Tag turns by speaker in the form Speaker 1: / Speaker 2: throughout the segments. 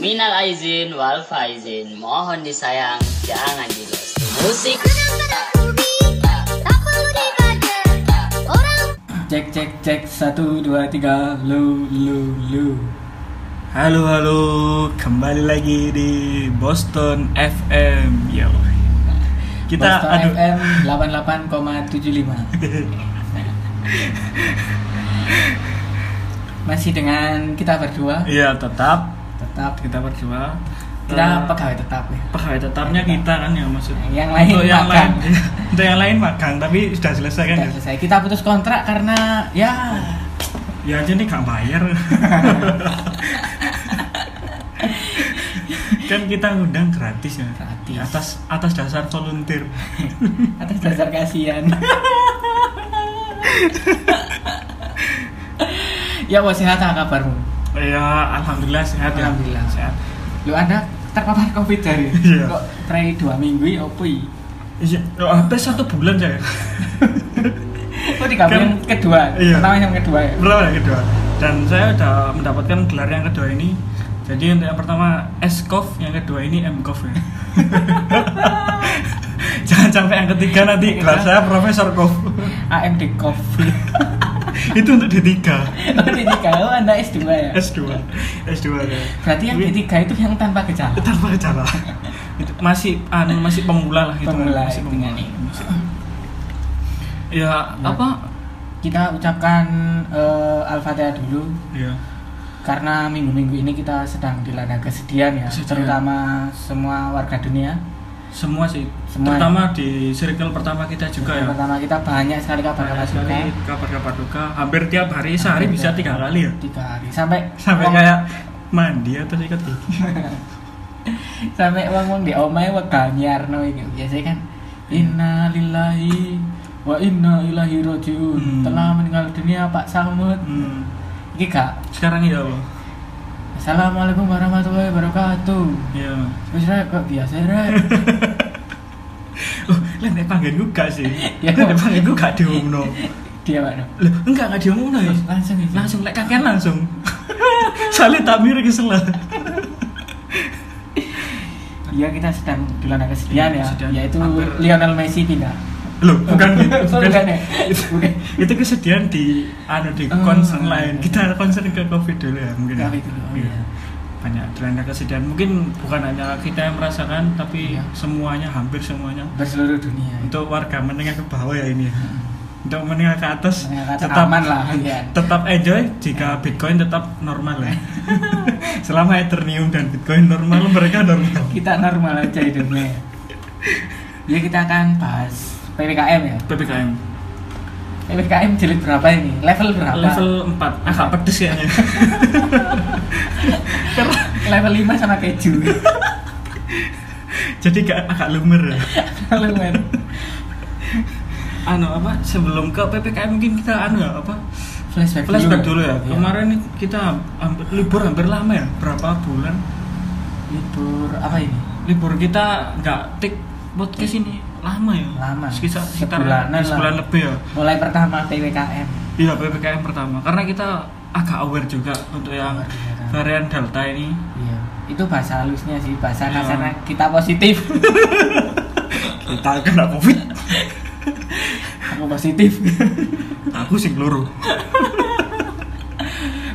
Speaker 1: Minal aizin wal faizin, mohon disayang jangan direstu. Musik.
Speaker 2: Cek cek cek satu dua tiga lu lu lu.
Speaker 3: Halo halo, kembali lagi di Boston FM. Yo. Kita
Speaker 2: Boston
Speaker 3: aduh
Speaker 2: FM 88,75. Masih dengan kita berdua,
Speaker 3: Iya, tetap
Speaker 2: tetap
Speaker 3: kita berdua.
Speaker 2: kita
Speaker 3: Eh,
Speaker 2: pegawai tetap ya. Nah,
Speaker 3: pegawai tetapnya kita kan ya maksud.
Speaker 2: Yang lain
Speaker 3: untuk yang
Speaker 2: magang.
Speaker 3: lain untuk yang lain magang tapi sudah selesai kan.
Speaker 2: Sudah selesai. Kita putus kontrak karena ya
Speaker 3: Ya aja nih gak bayar. kan kita ngundang gratis ya.
Speaker 2: Gratis.
Speaker 3: Atas atas dasar volunteer.
Speaker 2: atas dasar kasihan. ya bos sehat apa kabarmu?
Speaker 3: Ya, alhamdulillah sehat ya.
Speaker 2: Alhamdulillah.
Speaker 3: sehat.
Speaker 2: Lu anda terpapar covid dari?
Speaker 3: Iya.
Speaker 2: Kok try dua minggu ya opo i?
Speaker 3: Iya, oh, hampir satu bulan ya? saya.
Speaker 2: Itu di kabin Oh, kedua,
Speaker 3: Iya.
Speaker 2: pertama yang kedua ya.
Speaker 3: Berapa yang kedua? Dan saya sudah mendapatkan gelar yang kedua ini. Jadi untuk yang pertama S-Coff, yang kedua ini M-Coff ya. Jangan sampai yang ketiga nanti gelar saya Profesor Kof.
Speaker 2: AMD Coffee.
Speaker 3: Itu untuk D3,
Speaker 2: Berarti kalau anda S2 Oh, ya.
Speaker 3: S2. S2 ya.
Speaker 2: Berarti yang
Speaker 3: Tapi
Speaker 2: D3 itu yang tanpa gejala.
Speaker 3: tanpa gejala. Itu masih anu, masih pemula lah itu.
Speaker 2: Pemula kan.
Speaker 3: masih
Speaker 2: hitungan ini.
Speaker 3: Ya, apa?
Speaker 2: Kita ucapkan eh, Al-Fatihah dulu
Speaker 3: Ya.
Speaker 2: karena minggu-minggu ini kita sedang dilanda kesedihan ya,
Speaker 3: Kesedihan.
Speaker 2: terutama semua warga dunia.
Speaker 3: Semua sih,
Speaker 2: Semua.
Speaker 3: terutama di circle pertama kita juga
Speaker 2: Yang
Speaker 3: ya.
Speaker 2: pertama kita banyak sekali kabar-kabar
Speaker 3: Banyak sekali
Speaker 2: duka.
Speaker 3: kabar-kabar duka hampir tiap hari sehari
Speaker 2: Hampir
Speaker 3: bisa
Speaker 2: tiap
Speaker 3: tiga kali ya
Speaker 2: tiga hari sampai
Speaker 3: sampai
Speaker 2: wong-
Speaker 3: kayak mandi atau sikat gigi
Speaker 2: sampai wong wong di omahe wegal nyarno iki biasanya kan
Speaker 3: Hmm.
Speaker 2: inna lillahi wa inna ilahi rajiun
Speaker 3: Hmm.
Speaker 2: telah meninggal dunia Pak Samud
Speaker 3: hmm.
Speaker 2: iki gak
Speaker 3: sekarang ya Allah
Speaker 2: Assalamualaikum warahmatullahi wabarakatuh
Speaker 3: ya
Speaker 2: wis rek kok biasa rek
Speaker 3: oh lah nek panggil gue gak sih
Speaker 2: Ya.
Speaker 3: ya nek panggil gue gak diumno
Speaker 2: dia Pak Dok.
Speaker 3: loh enggak gak diumno ya
Speaker 2: Terus langsung iki.
Speaker 3: langsung lek kakean langsung soalnya tamir kesel lah
Speaker 2: Iya kita sedang dilanda kesedihan
Speaker 3: Iya,
Speaker 2: ya,
Speaker 3: kesedihan.
Speaker 2: yaitu
Speaker 3: Hampir.
Speaker 2: Lionel Messi pindah.
Speaker 3: loh bukan gitu
Speaker 2: Bukan
Speaker 3: bukan
Speaker 2: ya? Bukan.
Speaker 3: itu kesedihan di anu di
Speaker 2: Oh.
Speaker 3: concern lain kita concern ke covid dulu ya mungkin ya.
Speaker 2: Covid dulu, oh
Speaker 3: Iya.
Speaker 2: iya.
Speaker 3: banyak dilanda kesedihan mungkin bukan hanya kita yang merasakan tapi
Speaker 2: Iya.
Speaker 3: semuanya hampir semuanya
Speaker 2: Berseluruh dunia.
Speaker 3: untuk warga menengah ke bawah ya ini ya. untuk menengah ke atas
Speaker 2: Menengah ke atas aman lah, iya.
Speaker 3: tetap enjoy jika bitcoin tetap normal ya selama ethereum dan bitcoin normal mereka normal
Speaker 2: kita normal aja hidupnya ya kita akan bahas PPKM ya
Speaker 3: ppkm
Speaker 2: PPKM jilid berapa ini level berapa
Speaker 3: level 4 agak pedes kayaknya Karena-
Speaker 2: level 5 sama keju
Speaker 3: jadi gak, agak lumer ya
Speaker 2: lumayan
Speaker 3: anu apa sebelum ke ppkm mungkin kita anu ya apa
Speaker 2: flashback,
Speaker 3: flashback dulu ya
Speaker 2: Iya.
Speaker 3: kemarin kita hampir, libur hampir lama ya berapa bulan
Speaker 2: libur apa ini
Speaker 3: libur kita nggak tik podcast ini lama ya
Speaker 2: Lama.
Speaker 3: sekitar sekitar
Speaker 2: Sebulanan
Speaker 3: sebulan
Speaker 2: lah.
Speaker 3: lebih ya
Speaker 2: mulai pertama PPKM
Speaker 3: iya ppkm pertama karena kita agak aware juga untuk yang
Speaker 2: Aware, iya.
Speaker 3: varian delta ini
Speaker 2: iya itu bahasa halusnya sih bahasa
Speaker 3: Iya.
Speaker 2: kasarnya kita positif
Speaker 3: kita kena covid
Speaker 2: aku positif
Speaker 3: aku sih peluru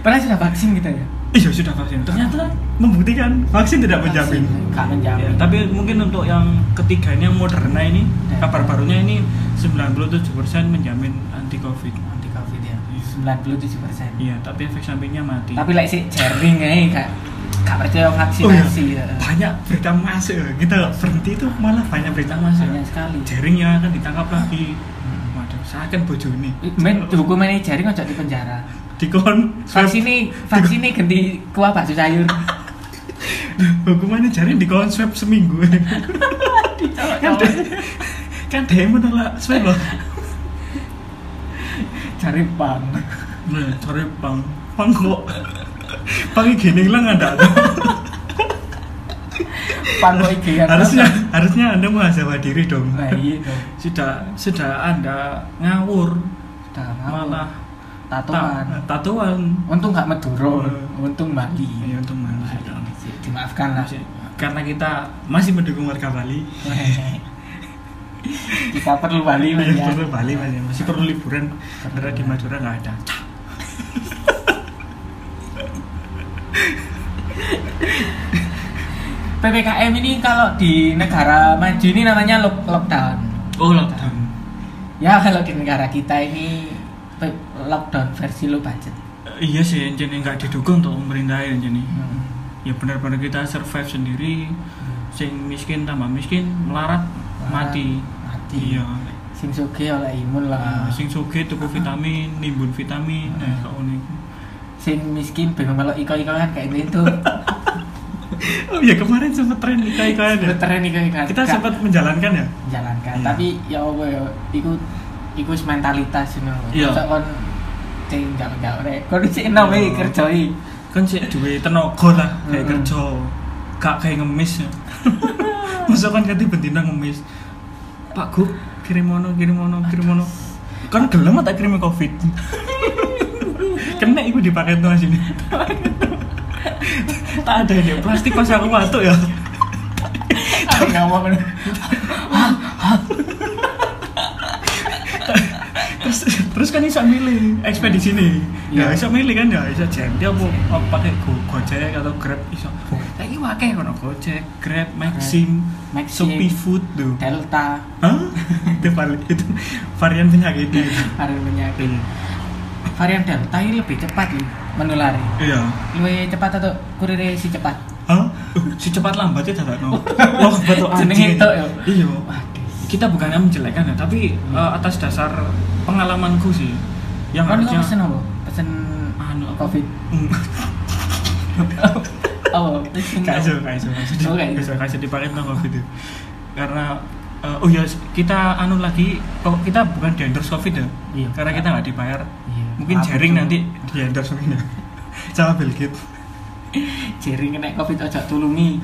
Speaker 2: pernah sudah vaksin kita ya
Speaker 3: iya sudah vaksin ternyata membuktikan vaksin tidak menjamin
Speaker 2: Gak menjamin
Speaker 3: Ya, tapi mungkin untuk yang ketiga ini yang Moderna ini
Speaker 2: Ya.
Speaker 3: kabar barunya ini 97% menjamin anti covid.
Speaker 2: anti covid ya
Speaker 3: Iya.
Speaker 2: 97
Speaker 3: Iya, tapi efek sampingnya mati.
Speaker 2: tapi like sih jaring aja gak gak
Speaker 3: Oh,
Speaker 2: percaya
Speaker 3: iya.
Speaker 2: vaksinasi ya.
Speaker 3: banyak berita masuk kita berhenti itu malah banyak berita masuk
Speaker 2: banyak sekali
Speaker 3: jaringnya akan ditangkap lagi waduh saya akan bojo ini
Speaker 2: men hukuman ini jaring aja di penjara
Speaker 3: dikon
Speaker 2: vaksin ini vaksin ini ganti kuah bakso sayur
Speaker 3: hukumannya jaring dikon swab seminggu kan dia kan dia menolak swab loh
Speaker 2: cari pang
Speaker 3: nah cari pang pang kok pang gini lah nggak ada
Speaker 2: pang kok iki kan
Speaker 3: harusnya harusnya anda muhasabah diri dong
Speaker 2: nah iya dong
Speaker 3: sudah sudah anda ngawur
Speaker 2: Udah ngawur.
Speaker 3: malah ta-
Speaker 2: tatoan
Speaker 3: tatoan
Speaker 2: untung gak Madura
Speaker 3: Hmm.
Speaker 2: untung Bali Hmm.
Speaker 3: Iya, untung Bali.
Speaker 2: Bali sih. dimaafkan lah
Speaker 3: Masih- karena kita masih mendukung warga Bali
Speaker 2: kita perlu Bali Mas, ya.
Speaker 3: perlu Iya, Bali Mas, ya. masih perlu liburan karena di Madura nggak ada
Speaker 2: PPKM ini kalau di negara maju ini namanya lock- lockdown
Speaker 3: oh lockdown
Speaker 2: ya kalau di negara kita ini pe- lockdown versi low budget
Speaker 3: Eh, iya sih yang jadi nggak didukung untuk pemerintah yang jadi
Speaker 2: Hmm.
Speaker 3: ya benar-benar kita survive sendiri sing miskin tambah miskin melarat mati
Speaker 2: mati
Speaker 3: iya Eh,
Speaker 2: sing sugih oleh imun lah
Speaker 3: Ah, sing sugih tuku vitamin nimbun vitamin
Speaker 2: Ah.
Speaker 3: nah kok ngene iku.
Speaker 2: sing miskin bingung melok iko ikoan kayak gitu
Speaker 3: Nah, oh iya kemarin sempet tren nikah ikayan ya
Speaker 2: beteren iko ikoan
Speaker 3: kita sempat menjalankan ya
Speaker 2: jalankan
Speaker 3: Iya.
Speaker 2: tapi ya apa ya iku iku wis mentalitas ngono
Speaker 3: Iya.
Speaker 2: Masa kon sing gak gak rek kon sik enom
Speaker 3: Iya.
Speaker 2: iki kerjoi
Speaker 3: kan sih duwe tenaga lah kayak
Speaker 2: Mm-mm.
Speaker 3: kerja gak kayak ngemis ya masa kan ganti betina ngemis pak gue kirim ono kirim ono kirim ono kan gelem tak kirim covid kena iku dipakai tuh sini tak ada ya plastik pas aku batuk ya
Speaker 2: tapi ngomong ngono.
Speaker 3: terus terus kan bisa milih ekspedisi nih ya
Speaker 2: Iya.
Speaker 3: bisa milih kan ya bisa jadi aku aku pakai Go- gojek atau grab bisa lagi pakai kono gojek grab maxim
Speaker 2: Maxim.
Speaker 3: Shopee Food tuh
Speaker 2: delta
Speaker 3: Hah? itu, vari- itu varian penyakitnya itu.
Speaker 2: varian penyakit varian delta ini lebih cepat lho menulari
Speaker 3: Iya.
Speaker 2: lebih cepat atau kurirnya si cepat
Speaker 3: Hah? Uh, si cepat lambatnya tidak no. Wah, betul
Speaker 2: Jenenge tok ya.
Speaker 3: Iya.
Speaker 2: waduh
Speaker 3: Kita bukannya menjelekkan ya, tapi eh, atas dasar pengalamanku sih yang
Speaker 2: kon kok pesen
Speaker 3: Ya, harusnya
Speaker 2: apa pesen
Speaker 3: Anu, apa?
Speaker 2: covid
Speaker 3: Hmm.
Speaker 2: oh pesen
Speaker 3: Kaiso, kaiso, kaiso,
Speaker 2: Oh, kaiso.
Speaker 3: kaiso, kaiso dipakai tentang covid itu. Karena eh, oh ya kita anu lagi kok kita bukan di endorse covid ya.
Speaker 2: Iya.
Speaker 3: Karena kita nggak dibayar.
Speaker 2: Iya.
Speaker 3: Mungkin
Speaker 2: Apa
Speaker 3: jaring
Speaker 2: tuh?
Speaker 3: nanti di endorse mungkin ya. Sama Bill Gates.
Speaker 2: jaring kena covid ojo tulungi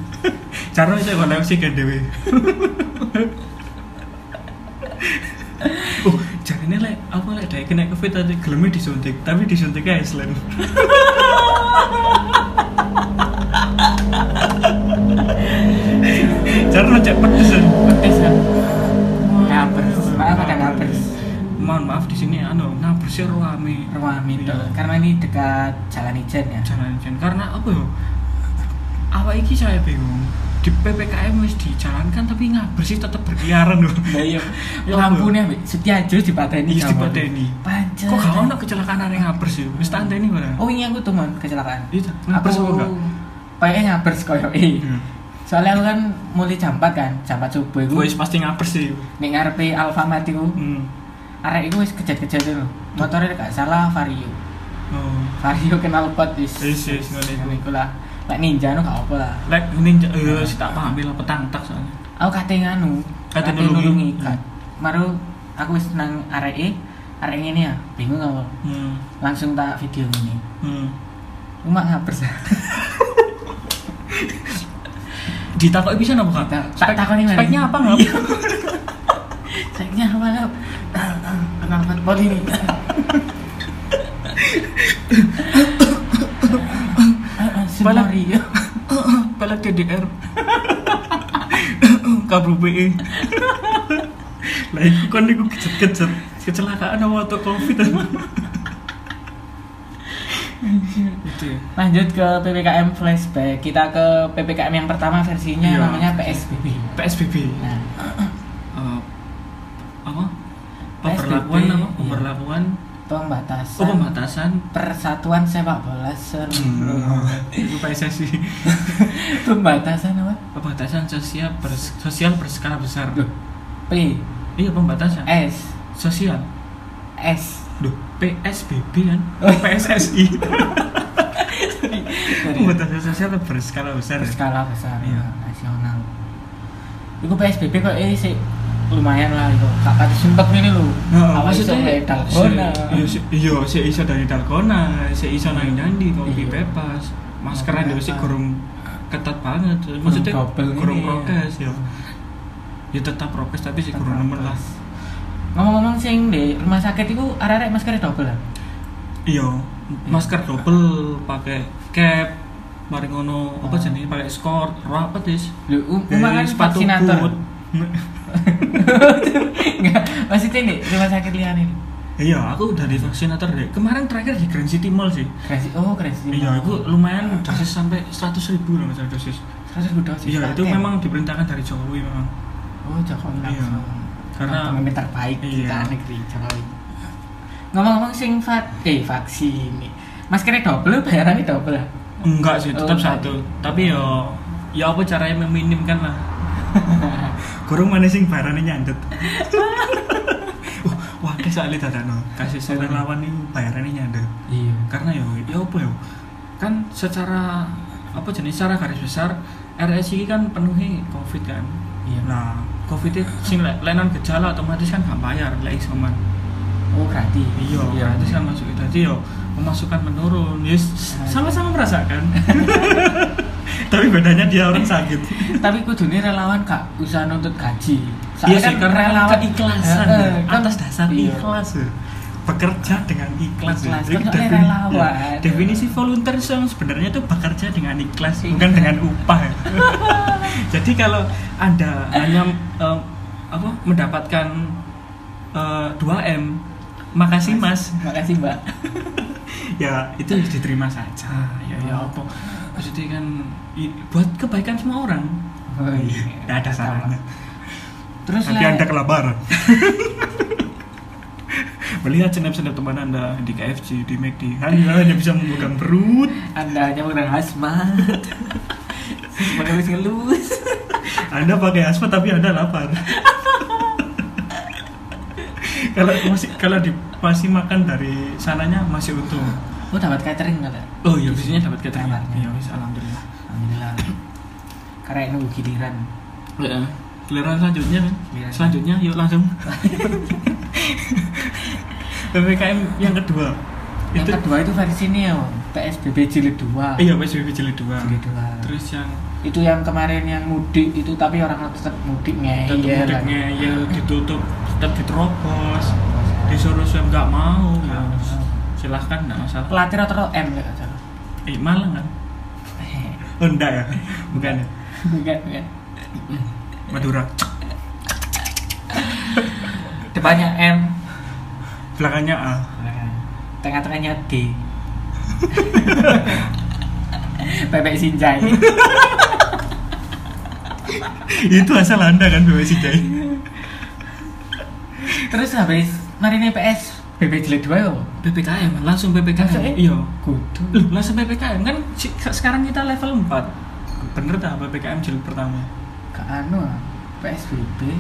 Speaker 3: Cara saya kalau oksigen dewe. Oh, jarene lek apa lek dhek kena covid tadi geleme disuntik, tapi disuntiknya Iceland. Cara cek pedes. ya.
Speaker 2: pedes kan ngabers maaf ada ngabers
Speaker 3: Mohon maaf di sini anu ngabers ya ruame.
Speaker 2: rumah Mido
Speaker 3: Iya.
Speaker 2: karena ini dekat Jalan Ijen ya
Speaker 3: jalan-jalan karena apa ya apa iki saya bingung di PPKM wis dijalankan tapi ngabers sih tetap berkeliaran loh
Speaker 2: Nah, iya. Lampunya Mbak. Setiajo dipateni.
Speaker 3: Iya,
Speaker 2: Jawa.
Speaker 3: dipateni.
Speaker 2: Pancet.
Speaker 3: kok gak ono kecelakaan ada ngabers sih wis tante ini pada
Speaker 2: Oh, ini aku tuh Mon, kecelakaan.
Speaker 3: Iya, ngabers apa enggak? Hmm.
Speaker 2: Kayaknya ngabers koyo eh. Soalnya aku kan mulai jam 4 kan, jam 4 subuh iku.
Speaker 3: gue Iya. pasti ngabers sih
Speaker 2: Ning ngarepe Alfamart iku,
Speaker 3: hmm.
Speaker 2: arek iku wis kejat-kejat itu. Motornya gak salah Vario.
Speaker 3: oh.
Speaker 2: Vario kenal pot wis.
Speaker 3: Wis, wis, ngono iku.
Speaker 2: Iku lah. Lek ninja no gak apa lah.
Speaker 3: lek ini eh sih tak paham lah petang tak soalnya
Speaker 2: aku Oh, kate nganu
Speaker 3: Kate
Speaker 2: kate
Speaker 3: nulungi.
Speaker 2: nulungi
Speaker 3: Hmm.
Speaker 2: Kak. maru aku wis nang areke arek ngene ya bingung aku
Speaker 3: hmm.
Speaker 2: langsung tak video ngene
Speaker 3: Hmm.
Speaker 2: cuma ngabers
Speaker 3: ditakoi bisa napa kata
Speaker 2: tak takoni mana
Speaker 3: speknya apa nggak
Speaker 2: speknya apa Kak? Ah, ah, kenal pot pot ini
Speaker 3: Balak.
Speaker 2: Semari
Speaker 3: pelek DDR KBPI E. lah iku kan iku kejet-kejet kecelakaan apa atau covid itu ya
Speaker 2: Lanjut ke PPKM flashback Kita ke PPKM yang pertama versinya
Speaker 3: Iya.
Speaker 2: namanya PSBB
Speaker 3: PSBB
Speaker 2: Nah,
Speaker 3: Eh, apa
Speaker 2: PSBB,
Speaker 3: pemberlakuan apa
Speaker 2: iya.
Speaker 3: pemberlakuan
Speaker 2: pembatasan
Speaker 3: oh pembatasan
Speaker 2: Persatuan sepak bola
Speaker 3: Hmm.
Speaker 2: seluruh
Speaker 3: itu PSSI
Speaker 2: Pembatasan apa?
Speaker 3: pembatasan sosial bers- sosial berskala besar
Speaker 2: Loh. P
Speaker 3: iya pembatasan
Speaker 2: S
Speaker 3: sosial
Speaker 2: S
Speaker 3: Duh, PSBB kan? PSSI. Pembatasan sosial berskala besar. ya?
Speaker 2: skala besar
Speaker 3: Oh, Iya.
Speaker 2: nasional. Iku PSBB kok eh sih lumayan lah itu. Tak kata sumpek ini lho.
Speaker 3: Nah,
Speaker 2: Awas iso
Speaker 3: maksudnya-
Speaker 2: kayak dalgona.
Speaker 3: Iya, si- Iya, si iso dari dalgona, si iso nang dandi,
Speaker 2: Iya.
Speaker 3: kopi bebas, maskeran
Speaker 2: Kopi
Speaker 3: itu sih
Speaker 2: bebas.
Speaker 3: kurung ketat banget. Maksudnya
Speaker 2: double
Speaker 3: kurung
Speaker 2: ini,
Speaker 3: prokes
Speaker 2: iya.
Speaker 3: ya. Ya tetap prokes tapi sih
Speaker 2: Tetap
Speaker 3: kurung nemen lah.
Speaker 2: prokes. Ngomong-ngomong sing di rumah sakit iku arek-arek maskernya double lah.
Speaker 3: Iya, masker double, pakai cap, mari ngono
Speaker 2: Ah.
Speaker 3: apa jenis pakai skor roh apa tis
Speaker 2: Lu um, Uma kan
Speaker 3: Dari sepatu
Speaker 2: vaksinator.
Speaker 3: boot.
Speaker 2: Enggak, maksudnya ini rumah sakit liane ini.
Speaker 3: iya aku dari vaksinator deh kemarin terakhir di Grand City Mall sih
Speaker 2: Crazy, oh crazy.
Speaker 3: iya aku lumayan dosis sampai 100 ribu lah misalnya dosis
Speaker 2: Terus gue dosis.
Speaker 3: iya itu
Speaker 2: Paten.
Speaker 3: memang diperintahkan dari Jokowi memang
Speaker 2: Oh Jokowi
Speaker 3: Iya.
Speaker 2: langsung.
Speaker 3: Karena-
Speaker 2: pemimpin terbaik
Speaker 3: Iya.
Speaker 2: kita negeri Jokowi. Ngomong-ngomong sing va- eh vaksin nih. Maskernya double, bayarannya double lah.
Speaker 3: enggak sih tetap
Speaker 2: Oh,
Speaker 3: satu tapi yo ya apa caranya meminimkan lah kurang mana sih bayarannya nyandet Wah, wah kayak soalnya dadano kasih seorang lawan itu bayarannya nyandet
Speaker 2: Iya.
Speaker 3: karena ya ya apa ya kan secara apa jenis secara garis besar RSI kan penuhi covid kan
Speaker 2: Iya.
Speaker 3: nah covid itu sing le- lenan gejala otomatis kan gak bayar lagi sama
Speaker 2: Oh gratis.
Speaker 3: iya gratis kan masuk itu jadi yo pemasukan menurun yes sama-sama merasakan tapi bedanya dia orang sakit
Speaker 2: Tapi kudune relawan kak usah nuntut gaji. kan
Speaker 3: iya sih karena relawan
Speaker 2: ikhlasan
Speaker 3: ikhlasan Kan
Speaker 2: kan
Speaker 3: atas dasar
Speaker 2: iya.
Speaker 3: ikhlas ya. bekerja dengan ikhlas, ya.
Speaker 2: Ikhlas,
Speaker 3: Jadi
Speaker 2: kan soalnya
Speaker 3: defini-
Speaker 2: relawan.
Speaker 3: ya, definisi volunteer itu yang sebenarnya itu bekerja dengan ikhlas bukan dengan upah ya. jadi kalau anda hanya eh, apa mendapatkan eh, 2 m makasih mas
Speaker 2: Makasih mbak.
Speaker 3: ya itu diterima saja ya ya apa maksudnya kan i- buat kebaikan semua orang
Speaker 2: Oh, iya.
Speaker 3: tidak ada salahnya
Speaker 2: Terus
Speaker 3: nanti
Speaker 2: lah-
Speaker 3: anda kelabaran melihat senap-senap teman anda di KFC di McD anda hanya bisa membuka perut
Speaker 2: Anda hanya menggunakan hazmat. Sebenarnya wis ngelus.
Speaker 3: anda pakai asma tapi anda lapar kalau masih kalau di, masih makan dari sananya masih untung
Speaker 2: Lu dapat catering enggak?
Speaker 3: oh iya biasanya dapat catering
Speaker 2: Kabarnya.
Speaker 3: ya wis alhamdulillah
Speaker 2: Alhamdulillah. Karena nunggu giliran.
Speaker 3: Ya, giliran selanjutnya kan?
Speaker 2: Giliran.
Speaker 3: Selanjutnya yuk langsung. PPKM yang kedua.
Speaker 2: Yang
Speaker 3: itu
Speaker 2: kedua itu versi ya, Neo, PSBB jilid 2.
Speaker 3: iya PSBB jilid 2.
Speaker 2: Jilid dua.
Speaker 3: Terus yang
Speaker 2: Itu yang kemarin yang mudik itu tapi orang tetap mudik ngeyel. Kan? lah.
Speaker 3: tetap mudiknya ya ditutup, tetap diterobos, disuruh swab nggak mau. Ya.
Speaker 2: Nggak mau.
Speaker 3: Silahkan nggak masalah.
Speaker 2: Pelatih atau M enggak salah.
Speaker 3: Eh Malang kan? Oh, enggak ya. Bukan ya.
Speaker 2: Bukan, bukan.
Speaker 3: Madura.
Speaker 2: Depannya M,
Speaker 3: Belakangnya A.
Speaker 2: tengah-tengahnya D. Bebek Sinjai.
Speaker 3: itu asal Anda kan BBC Jai.
Speaker 2: Terus habis mari ini PS BB jilid 2 yo.
Speaker 3: PPKM langsung PPKM.
Speaker 2: Maksudnya?
Speaker 3: Iya.
Speaker 2: Kudu.
Speaker 3: Loh, langsung PPKM kan si- sekarang kita level 4 Bener tak PPKM jilid pertama?
Speaker 2: Ke anu ah, PSBB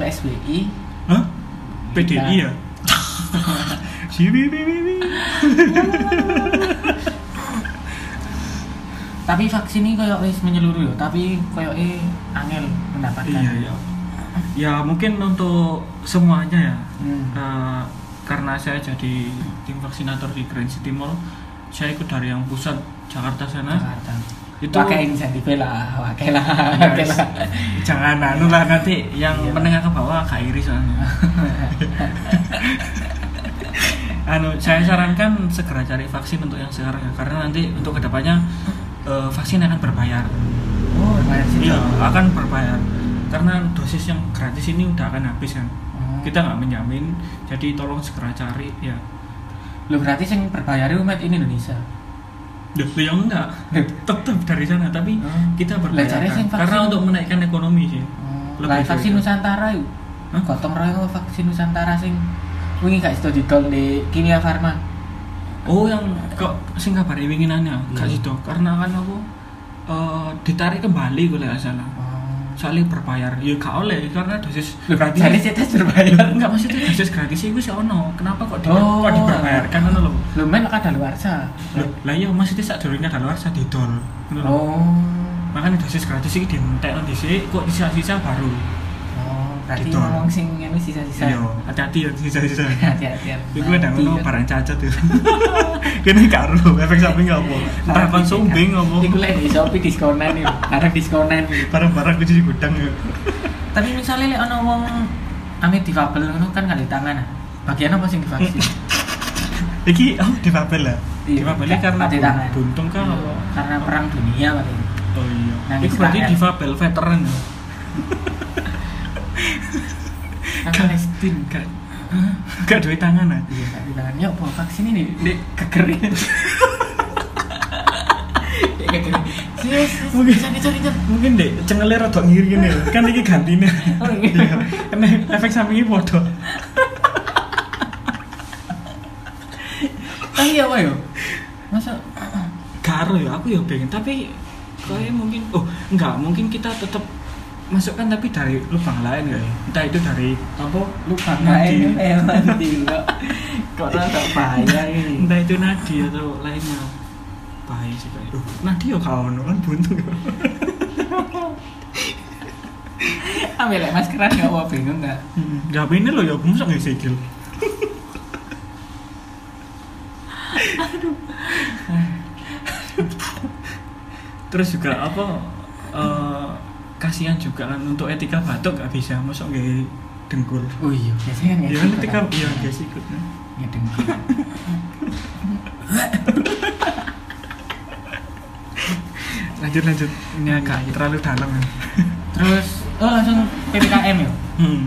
Speaker 2: PSBI
Speaker 3: Hah? PDI ya? Si bi- bi- bi- bi.
Speaker 2: tapi vaksin ini koyo wis menyeluruh yo tapi koyo e angel mendapatkan
Speaker 3: Iya iya Ya mungkin untuk semuanya ya
Speaker 2: Hmm.
Speaker 3: Eh, Karena saya jadi tim vaksinator di Grand City Mall Saya ikut dari yang pusat Jakarta sana
Speaker 2: Jakarta itu
Speaker 3: Itu-
Speaker 2: pakai inisiatif lah pakai lah
Speaker 3: Ya,
Speaker 2: pakai
Speaker 3: wis.
Speaker 2: lah
Speaker 3: Jangan anu lah nanti yang
Speaker 2: Iya.
Speaker 3: menengah ke bawah Kak Iris soalnya anu saya sarankan segera cari vaksin untuk yang sekarang ya karena nanti untuk kedepannya eh, vaksin akan berbayar
Speaker 2: oh lumayan sih
Speaker 3: iya akan berbayar karena dosis yang gratis ini udah akan habis kan
Speaker 2: Oh.
Speaker 3: kita nggak menjamin jadi tolong segera cari ya
Speaker 2: lo Hmm. berarti yang berbayar itu made in Indonesia Ya,
Speaker 3: Loh, loh, yang enggak tetap dari sana tapi
Speaker 2: Oh.
Speaker 3: kita
Speaker 2: Lah, cari
Speaker 3: berbayar kan.
Speaker 2: sing vaksin.
Speaker 3: karena untuk menaikkan ekonomi sih Lebih
Speaker 2: Hmm, lah
Speaker 3: dari
Speaker 2: vaksin
Speaker 3: itu.
Speaker 2: Nusantara yuk
Speaker 3: Hah?
Speaker 2: gotong royong vaksin Nusantara sing wingi gak itu didol di Kimia Farma
Speaker 3: oh yang kok sing kabar winginannya gak
Speaker 2: Iya.
Speaker 3: sido karena kan aku eh, ditarik kembali kalau nggak salah
Speaker 2: oh
Speaker 3: soalnya berbayar ya gak oleh karena dosis
Speaker 2: lo berarti jadi sih tes berbayar
Speaker 3: enggak maksudnya dosis gratis itu sih ono kenapa kok di
Speaker 2: Oh.
Speaker 3: kok dibayarkan ono lho
Speaker 2: lo main kada luar
Speaker 3: Lho, lah iya maksudnya saat durungnya ada luar saya didol Ngono lho.
Speaker 2: oh
Speaker 3: makanya dosis gratis ini dientek di kok sisa-sisa baru
Speaker 2: Oh, berarti
Speaker 3: Gitu.
Speaker 2: ngomong sing ngene sisa-sisa.
Speaker 3: iya hati-hati ya sisa-sisa
Speaker 2: Hati-hati. Iya.
Speaker 3: Ya gue udah ngono
Speaker 2: Hati-hati.
Speaker 3: barang cacat ya Kene gak ero efek samping gak apa Entah kan sumbing apa
Speaker 2: Nah, iya, Iku lek di Shopee diskonan yo. Arek diskonan yo.
Speaker 3: Barang-barang kudu di gudang ya
Speaker 2: Tapi misalnya lek ana wong ame difabel ngono kan nggak di tangan. ah. Bagian apa sing divaksin?
Speaker 3: Iki, oh di papel lah
Speaker 2: Iya,
Speaker 3: Difabelnya
Speaker 2: ka-
Speaker 3: karena
Speaker 2: mati
Speaker 3: bun-
Speaker 2: tangan.
Speaker 3: buntung kah?
Speaker 2: Iya, Nah, karena perang dunia paling
Speaker 3: Oh iya.
Speaker 2: Nangis
Speaker 3: itu berarti
Speaker 2: rakyat.
Speaker 3: difabel veteran. ya?
Speaker 2: Nang Palestin.
Speaker 3: Gak, gak duit tangan ah.
Speaker 2: Kan iya mati tangan yuk bawa vaksin ini dek kegerin Dek, kegerin. Yes, yes,
Speaker 3: Mungkin-
Speaker 2: cari cari cari
Speaker 3: Mungkin deh cengele rada ngiri ngene. Kan iki gantine.
Speaker 2: Oh, iya.
Speaker 3: Iya. Karena efek sampingnya padha.
Speaker 2: ah iya apa yuk masa
Speaker 3: Karo ya aku ya pengen tapi kayak mungkin oh enggak mungkin kita tetap masukkan tapi dari lubang lain ya entah itu dari apa
Speaker 2: lupa main
Speaker 3: Nadi.
Speaker 2: hewan dilo kok rada bahaya ini
Speaker 3: entah itu nadi atau lainnya bahaya sih kayak oh, nadi ya kawan kan buntu
Speaker 2: ambil like, maskeran nggak wah bingung nggak
Speaker 3: Gak ini loh ya, aku musak gak sikil Terus juga apa eh, Kasihan juga kan untuk etika batuk gak bisa Musak gak dengkul
Speaker 2: oh iya biasanya kan
Speaker 3: Ya
Speaker 2: nggak
Speaker 3: kan
Speaker 2: sih,
Speaker 3: etika,
Speaker 2: kok.
Speaker 3: iya gak sikut
Speaker 2: ngedengkil
Speaker 3: Lanjut lanjut, ini agak terlalu dalam ya
Speaker 2: terus oh langsung ppkm yuk
Speaker 3: Hmm.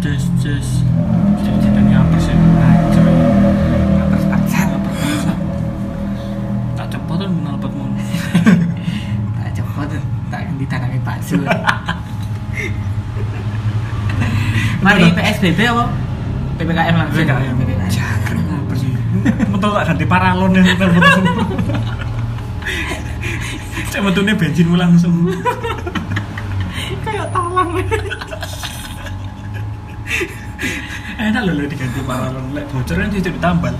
Speaker 3: Jess, Jess, Jess, dan ngapers ya, ngaco ya. Ngapers bangsat, ngapers bangsat. Tak cepet kan kenal potmu.
Speaker 2: tak cepet tak ganti tanami palsu mari PSBB apa? PPKM langsung
Speaker 3: PPKM.
Speaker 2: Jangan.
Speaker 3: Ngapers ya. Metu tak ganti paralon ya, metu metu. Cek metune bensin ulang langsung.
Speaker 2: kayak talang
Speaker 3: Enak loh lho diganti paralon, lek bocor kan jadi tambal.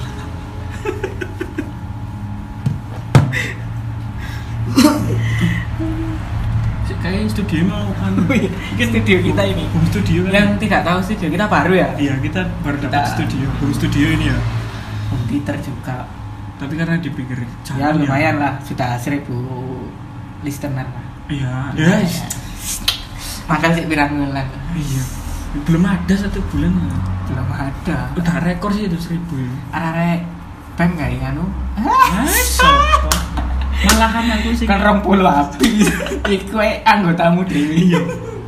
Speaker 3: Kayaknya studio mau kan.
Speaker 2: Ini studio Oh iya, kita ini.
Speaker 3: Home studio kan.
Speaker 2: yang tidak tahu studio kita baru ya
Speaker 3: Iya, kita baru dapat
Speaker 2: Kita-
Speaker 3: studio. Home studio ini ya.
Speaker 2: komputer juga
Speaker 3: Tapi karena dipikir canggih
Speaker 2: ya lumayan lah sudah seribu listener lah
Speaker 3: Iya. Yes.
Speaker 2: makan sih pirang bulan
Speaker 3: Iya. Belum ada satu bulan. ya.
Speaker 2: belum ada
Speaker 3: Udah rekor sih itu seribu ya.
Speaker 2: arek pem gak ya anu
Speaker 3: Masa? Malahan aku sih.
Speaker 2: kan rong puluh api iku ae anggotamu dewi
Speaker 3: iya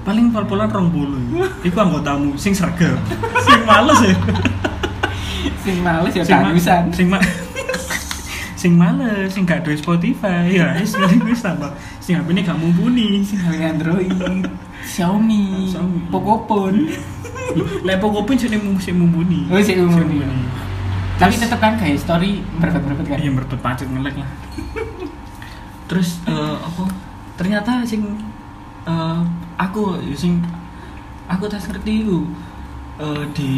Speaker 3: paling pol-polan rong bulu iku anggotamu sing sergap sing males ya
Speaker 2: sing males ya
Speaker 3: sing ma-
Speaker 2: tanusan
Speaker 3: sing ma- sing males sing gak duwe Spotify ya wis paling wis tambah sing HP gak mumpuni
Speaker 2: sing gawe Android Xiaomi
Speaker 3: Xiaomi. Iya.
Speaker 2: Pokopon
Speaker 3: lek pokoknya sing mum- sing mumpuni
Speaker 2: Oh, sing mumpuni.
Speaker 3: Sing
Speaker 2: tapi
Speaker 3: Terus-
Speaker 2: tetep kan kayak story berbet-berbet kan
Speaker 3: iya merebut pacet ngelek lah terus eh, apa ternyata sing eh, aku sing aku tak ngerti itu eh, di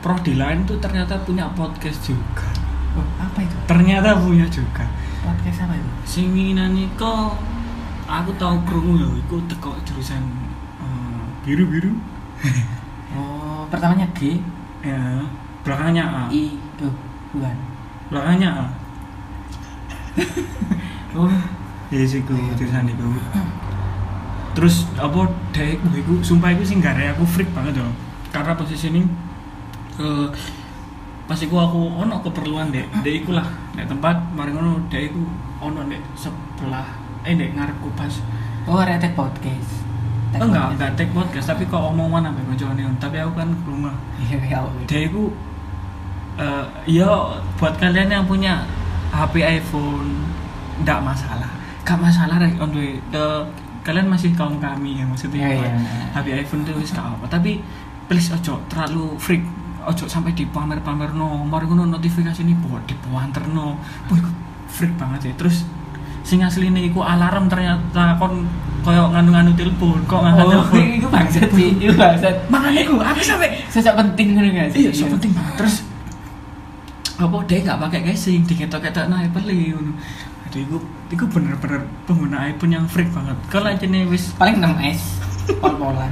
Speaker 3: pro di lain tuh ternyata punya podcast juga
Speaker 2: Oh, apa itu
Speaker 3: ternyata punya juga
Speaker 2: podcast apa itu
Speaker 3: sing winginane kok aku tahu krungu ya iku teko jurusan eh, biru biru
Speaker 2: oh pertamanya G
Speaker 3: ya belakangnya ah. A
Speaker 2: I oh bukan
Speaker 3: belakangnya A
Speaker 2: oh
Speaker 3: ya sih ku jurusan itu terus apa dek gue iku sumpah iku sing gara aku freak banget loh karena posisi ini eh pas iku aku ono keperluan dek dek iku lah dek tempat mari ngono dek iku ono dek sebelah eh dek ngarepku pas
Speaker 2: oh arek tag podcast Iya, Tag
Speaker 3: Oh, enggak,
Speaker 2: podcast.
Speaker 3: enggak take podcast, tapi kok omongan sampai koncone tapi aku kan ke rumah.
Speaker 2: iya ya Allah.
Speaker 3: Dia itu eh ya buat kalian yang punya HP iPhone enggak masalah. Enggak masalah rek on the, the- kalian masih kaum kami ya maksudnya.
Speaker 2: Iya, iya.
Speaker 3: HP iPhone itu wis gak apa, tapi please ojo terlalu freak ojo sampai di pamer-pamer nomor ngono notifikasi ini buat di no. Wih, iku freak banget ya. Terus sing asline iku alarm ternyata kon koyo nganu-nganu telepon, kok ngangkat
Speaker 2: Oh,
Speaker 3: telepon.
Speaker 2: itu bangsat sih, itu bangsat.
Speaker 3: Makanya gue apa sampai
Speaker 2: Sosok penting kan enggak sih?
Speaker 3: Iya, so penting banget. Terus apa dia nggak pakai casing, diketok-ketok nah Apple ngono. Aduh, iku iku bener-bener pengguna iPhone yang freak banget. Kalau aja nih wis
Speaker 2: Paling 6 S. Pol-polan.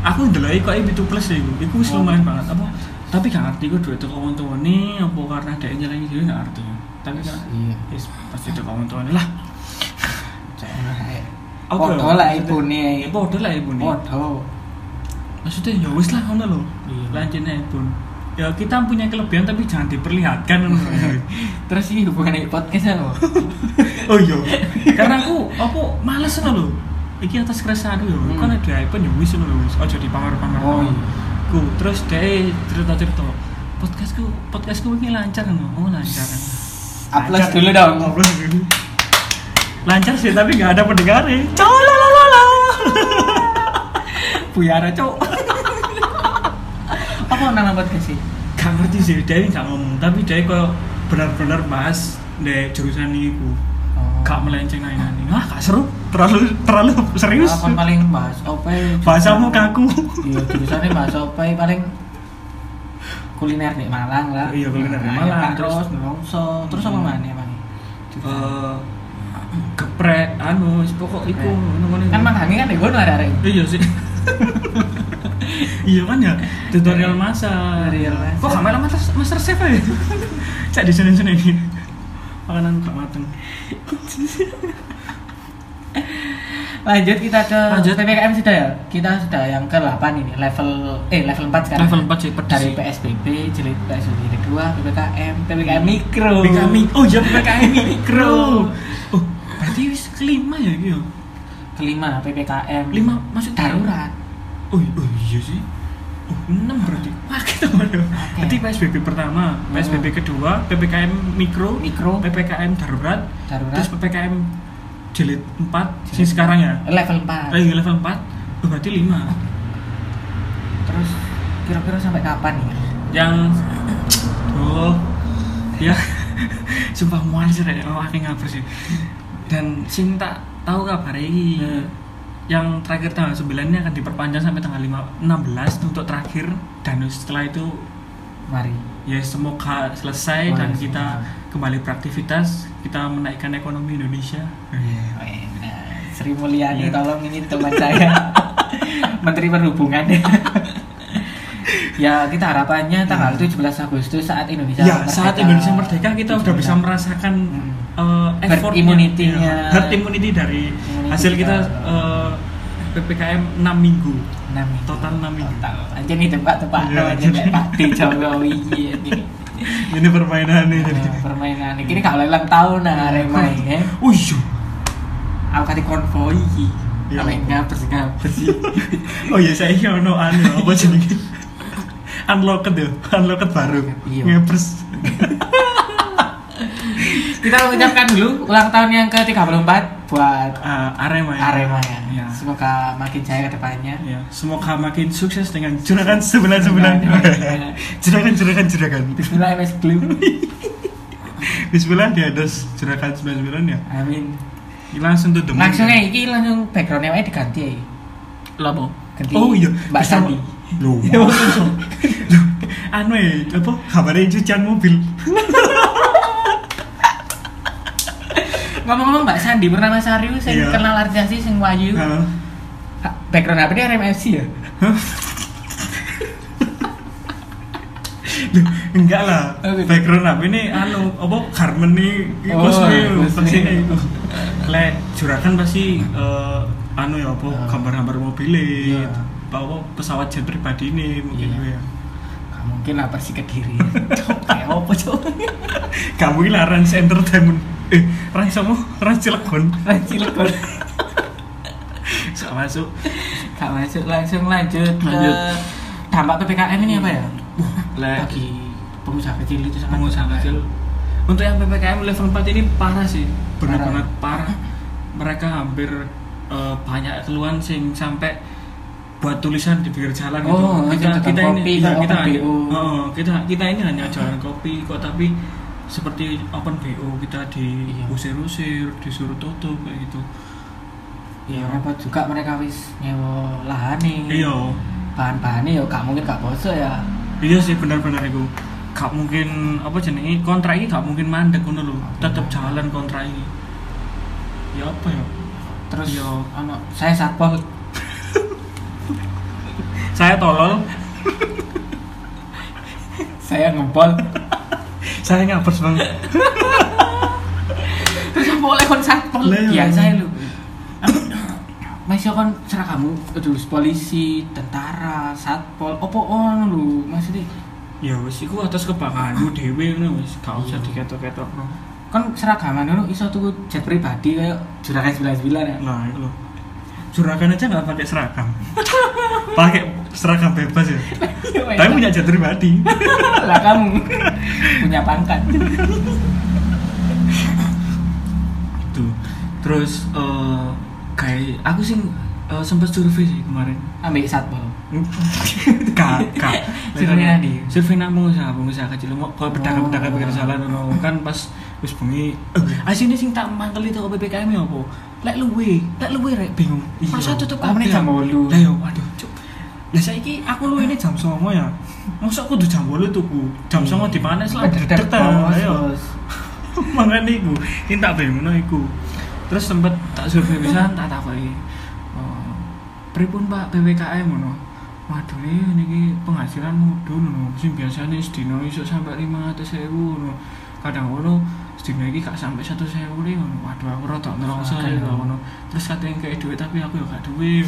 Speaker 3: aku ndelok kok itu plus ya iku. Iku wis
Speaker 2: Oh.
Speaker 3: lumayan banget apa tapi gak ngerti gue duit toko tuane apa karena dia nyelengi dhewe gak ngerti. Tapi kan
Speaker 2: Iya.
Speaker 3: wis pasti toko tuane lah.
Speaker 2: Podo lah iPhone-e.
Speaker 3: Ya podo lah iPhone.
Speaker 2: Podo.
Speaker 3: Maksudnya ya wis lah ngono lho.
Speaker 2: Iya.
Speaker 3: Lancene iPhone. ya kita punya kelebihan tapi jangan diperlihatkan
Speaker 2: terus ini hubungannya podcast apa
Speaker 3: oh iya karena aku apa males ngono lho iki atas keresahan yo
Speaker 2: Hmm.
Speaker 3: kan ada iPhone yo wis ngono lho wis aja dipamer-pamer
Speaker 2: Oh, iya.
Speaker 3: ku terus deh cerita-cerita podcastku podcastku ini lancar ngono oh lancar
Speaker 2: Applause dulu dong.
Speaker 3: Upload dulu. lancar sih tapi nggak ada pendengar ya Cau, la la la la buyara cowok
Speaker 2: apa nang podcast
Speaker 3: Oh.
Speaker 2: sih
Speaker 3: gak ngerti sih Dewi gak ngomong tapi Dewi kok benar-benar bahas di jurusan ini ku gak melenceng aja nih wah gak seru terlalu terlalu serius
Speaker 2: Apa paling bahas apa ya?
Speaker 3: bahasamu kaku
Speaker 2: iya jurusannya bahasa apa ya? paling kuliner di Malang lah
Speaker 3: Iya, kuliner di
Speaker 2: Nah,
Speaker 3: Malang.
Speaker 2: Pak
Speaker 3: Terus-
Speaker 2: Ros, Nelongso terus apa
Speaker 3: Hmm.
Speaker 2: mana emang
Speaker 3: Eh, geprek anu wis pokok iku ngono-ngono
Speaker 2: kan Mang Hangi kan di gunung ada ada
Speaker 3: iya sih iya kan ya tutorial masak
Speaker 2: Tutorial masak.
Speaker 3: kok gak malah master, master chef ya cak di sini sini makanan gak mateng
Speaker 2: lanjut kita ke
Speaker 3: Lanjut.
Speaker 2: PPKM sudah ya kita sudah yang ke 8 ini level eh level 4 sekarang
Speaker 3: Level 4 sih, pedes
Speaker 2: dari
Speaker 3: sih.
Speaker 2: PSBB jilid PSBB jilid 2 PPKM PPKM mikro
Speaker 3: PKM oh iya PKM mikro oh berarti wis kelima ya gitu
Speaker 2: kelima PPKM
Speaker 3: Lima, maksud-
Speaker 2: darurat
Speaker 3: oh, i- oh iya sih oh enam berarti wah kita waduh berarti PSBB pertama PSBB kedua PPKM
Speaker 2: Oh.
Speaker 3: mikro
Speaker 2: Mikro.
Speaker 3: PPKM darurat
Speaker 2: Darurat.
Speaker 3: terus PPKM jilid 4 sih
Speaker 2: Jilid-
Speaker 3: sekarang ya
Speaker 2: level 4
Speaker 3: lagi level 4 oh, berarti 5
Speaker 2: terus kira-kira sampai kapan ya? nih
Speaker 3: yang oh ya sumpah mual sih rek oh akeh ngabers sih dan sing tak tahu kabar ini
Speaker 2: Hmm.
Speaker 3: yang terakhir tanggal 9 ini akan diperpanjang sampai tanggal 5, 16 untuk terakhir dan setelah itu
Speaker 2: mari
Speaker 3: ya semoga selesai
Speaker 2: Wah,
Speaker 3: dan
Speaker 2: semoga.
Speaker 3: kita kembali beraktivitas kita menaikkan ekonomi Indonesia
Speaker 2: Nah, Sri Mulyani
Speaker 3: Iya.
Speaker 2: tolong ini teman saya Menteri Perhubungan ya kita harapannya tanggal 17 Agustus saat Indonesia
Speaker 3: ya saat Indonesia merdeka kita udah bisa merasakan eh,
Speaker 2: Herd
Speaker 3: effortnya,
Speaker 2: immunity-nya.
Speaker 3: ya, herd immunity dari
Speaker 2: Immunity
Speaker 3: hasil kita
Speaker 2: kita.
Speaker 3: eh, ppkm 6 minggu
Speaker 2: 6 minggu
Speaker 3: total 6 minggu
Speaker 2: Total. aja nih tempat tempat
Speaker 3: Iya,
Speaker 2: aja
Speaker 3: jadi-
Speaker 2: kayak Pak D Jokowi iya, gini.
Speaker 3: ini permainan nih jadi
Speaker 2: Nah, permainan ini kalau ulang tahun nah Arema ya
Speaker 3: oh iya
Speaker 2: aku kata konvoi
Speaker 3: Iya.
Speaker 2: Kalau ngapes ngapes sih
Speaker 3: oh iya saya iya no anu apa jenenge unlocked ya unlocked baru
Speaker 2: Iya.
Speaker 3: ngepers
Speaker 2: kita mengucapkan dulu ulang tahun yang ke 34 buat
Speaker 3: Eh, arema ya
Speaker 2: Arema ya.
Speaker 3: Iya.
Speaker 2: Semoga makin jaya ke depannya.
Speaker 3: Ya, semoga makin sukses dengan juragan sembilan sembilan. juragan juragan juragan.
Speaker 2: Bismillah MS Glue.
Speaker 3: Bismillah di atas juragan sembilan sembilan ya.
Speaker 2: Amin.
Speaker 3: Langsung tuh demi.
Speaker 2: Langsung eh. aja iki langsung backgroundnya aja diganti ya.
Speaker 3: Labo.
Speaker 2: Ganti
Speaker 3: Oh iya.
Speaker 2: Mbak Sandi. Iya,
Speaker 3: Lu. Anu ya, apa kabarnya cucian mobil?
Speaker 2: Ngomong-ngomong Mbak Sandi bernama Sariu sing
Speaker 3: Iya. Nah.
Speaker 2: kenal artisasi sing wayu.
Speaker 3: Halo.
Speaker 2: Ha, Background apa dia RMFC ya?
Speaker 3: Lu, enggak lah.
Speaker 2: Oh, gitu.
Speaker 3: Background apa ini? Anu, apa harmony
Speaker 2: Oh,
Speaker 3: kosme
Speaker 2: kosme.
Speaker 3: pasti itu. Lek juragan pasti eh, anu ya apa
Speaker 2: Ah.
Speaker 3: gambar-gambar mobilnya,
Speaker 2: Iya.
Speaker 3: apa pesawat jet pribadi ini mungkin
Speaker 2: Iya.
Speaker 3: ya.
Speaker 2: Nggak Mungkin lah persi kediri. Cok, kayak apa cok?
Speaker 3: Kamu ini lah Rans Entertainment. Eh, Rans kamu Rans Cilegon.
Speaker 2: Rancil kon.
Speaker 3: Sok masuk.
Speaker 2: Gak masuk langsung lanjut ke
Speaker 3: Lanjut.
Speaker 2: dampak PPKM ini apa ya?
Speaker 3: Lek
Speaker 2: Bagi pengusaha kecil itu sangat
Speaker 3: pengusaha
Speaker 2: berdampak.
Speaker 3: kecil. Untuk yang PPKM level 4 ini parah sih. Benar
Speaker 2: Parah.
Speaker 3: banget parah. Mereka hampir eh, banyak keluhan sing sampai buat tulisan di pinggir jalan gitu.
Speaker 2: Oh,
Speaker 3: kita
Speaker 2: itu
Speaker 3: kita
Speaker 2: tukang kopi,
Speaker 3: ini iya,
Speaker 2: open
Speaker 3: kita
Speaker 2: BO.
Speaker 3: oh, kita kita ini hanya jualan kopi kok tapi seperti open BO kita
Speaker 2: Iya.
Speaker 3: diusir-usir, disuruh tutup kayak gitu.
Speaker 2: Ya repot juga mereka wis nyewa lahan nih.
Speaker 3: Iya.
Speaker 2: Bahan-bahannya ya gak mungkin gak bosok ya.
Speaker 3: Iya sih benar-benar itu. Gak mungkin apa jenenge kontrak ini gak mungkin mandek ngono lho. Tetep jalan kontrak ini. Ya apa ya?
Speaker 2: Terus
Speaker 3: Iya.
Speaker 2: ono saya satpol
Speaker 3: Saya tolol,
Speaker 2: saya ngempol.
Speaker 3: saya ngapers bang.
Speaker 2: Terus apa oleh kon satpol?
Speaker 3: Lah, iya.
Speaker 2: Ya saya lu. Masih kon seragamu terus polisi, tentara, satpol, opo on lu maksudnya
Speaker 3: ya wis iku atas kebanggaanmu dhewe ngono wis gak usah diketok-ketokno.
Speaker 2: kan seragaman dulu iso tuku jet pribadi kayak juragan sembilan sembilan ya
Speaker 3: Nah, itu loh. Juragan aja nggak pakai seragam. pakai seragam bebas ya. Tapi punya jet pribadi.
Speaker 2: lah kamu punya pangkat
Speaker 3: Itu. Terus eh, kayak aku sih eh, sempat survei sih kemarin.
Speaker 2: ambil satpol
Speaker 3: kak kak
Speaker 2: Survei nadi?
Speaker 3: survei nang pengusaha pengusaha kecil mau kalau pedagang
Speaker 2: Oh.
Speaker 3: pedagang pinggir jalan no. kan pas wis bengi eh, asine sing tak mangkel itu PPKM ya apa lek luwe lek luwe rek bingung Ah,
Speaker 2: Iya.
Speaker 3: masa tutup
Speaker 2: Kamu ini
Speaker 3: kabeh.
Speaker 2: jam 8.
Speaker 3: lah yo waduh cuk lah saiki aku luwe ini jam 9 ya masa aku udah jam 8 tuku jam 9 di mana selama
Speaker 2: Bededek,
Speaker 3: deg-deg ta,
Speaker 2: bos,
Speaker 3: ayo
Speaker 2: bos.
Speaker 3: makanya iku ini tak bengno iku terus sempet tak survei pisan tak takoki oh, pripun Pak PPKM ngono waduh ini niki penghasilan mudun ngono sing biasane sedina iso sampai 500.000 ngono kadang ngono sedina iki gak sampai 100.000 le ngono waduh aku rada nerangsa
Speaker 2: Sakit,
Speaker 3: lho
Speaker 2: ya.
Speaker 3: ngono terus katanya kayak duit tapi aku ya gak duit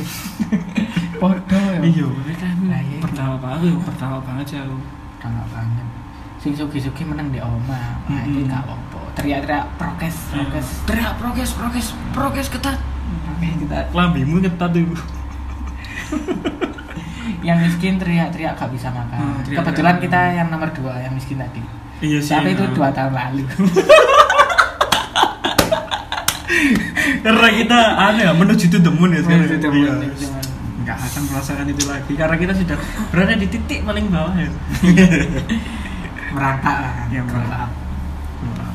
Speaker 2: podo
Speaker 3: iya PPKM
Speaker 2: Lah, iya.
Speaker 3: pertama banget aku pertama banget sih aku
Speaker 2: kalau banget sing sugi sugi menang di oma nah
Speaker 3: Mm-mm.
Speaker 2: ini gak apa teriak teriak prokes prokes
Speaker 3: teriak prokes prokes prokes ketat
Speaker 2: Oke, kita
Speaker 3: kelambimu ketat ibu
Speaker 2: yang miskin teriak teriak gak bisa makan
Speaker 3: Hmm, teriak-teriak.
Speaker 2: kebetulan kita yang nomor dua yang miskin tadi
Speaker 3: iya
Speaker 2: tapi itu
Speaker 3: nah.
Speaker 2: dua tahun lalu
Speaker 3: karena kita aneh ya menuju to the moon ya sekarang
Speaker 2: Menuju to the moon,
Speaker 3: Iya.
Speaker 2: teman-teman.
Speaker 3: nggak akan merasakan itu lagi karena kita sudah berada di titik paling bawah ya
Speaker 2: merangkak lah kan
Speaker 3: Iya, merangkak.
Speaker 2: Merangkak.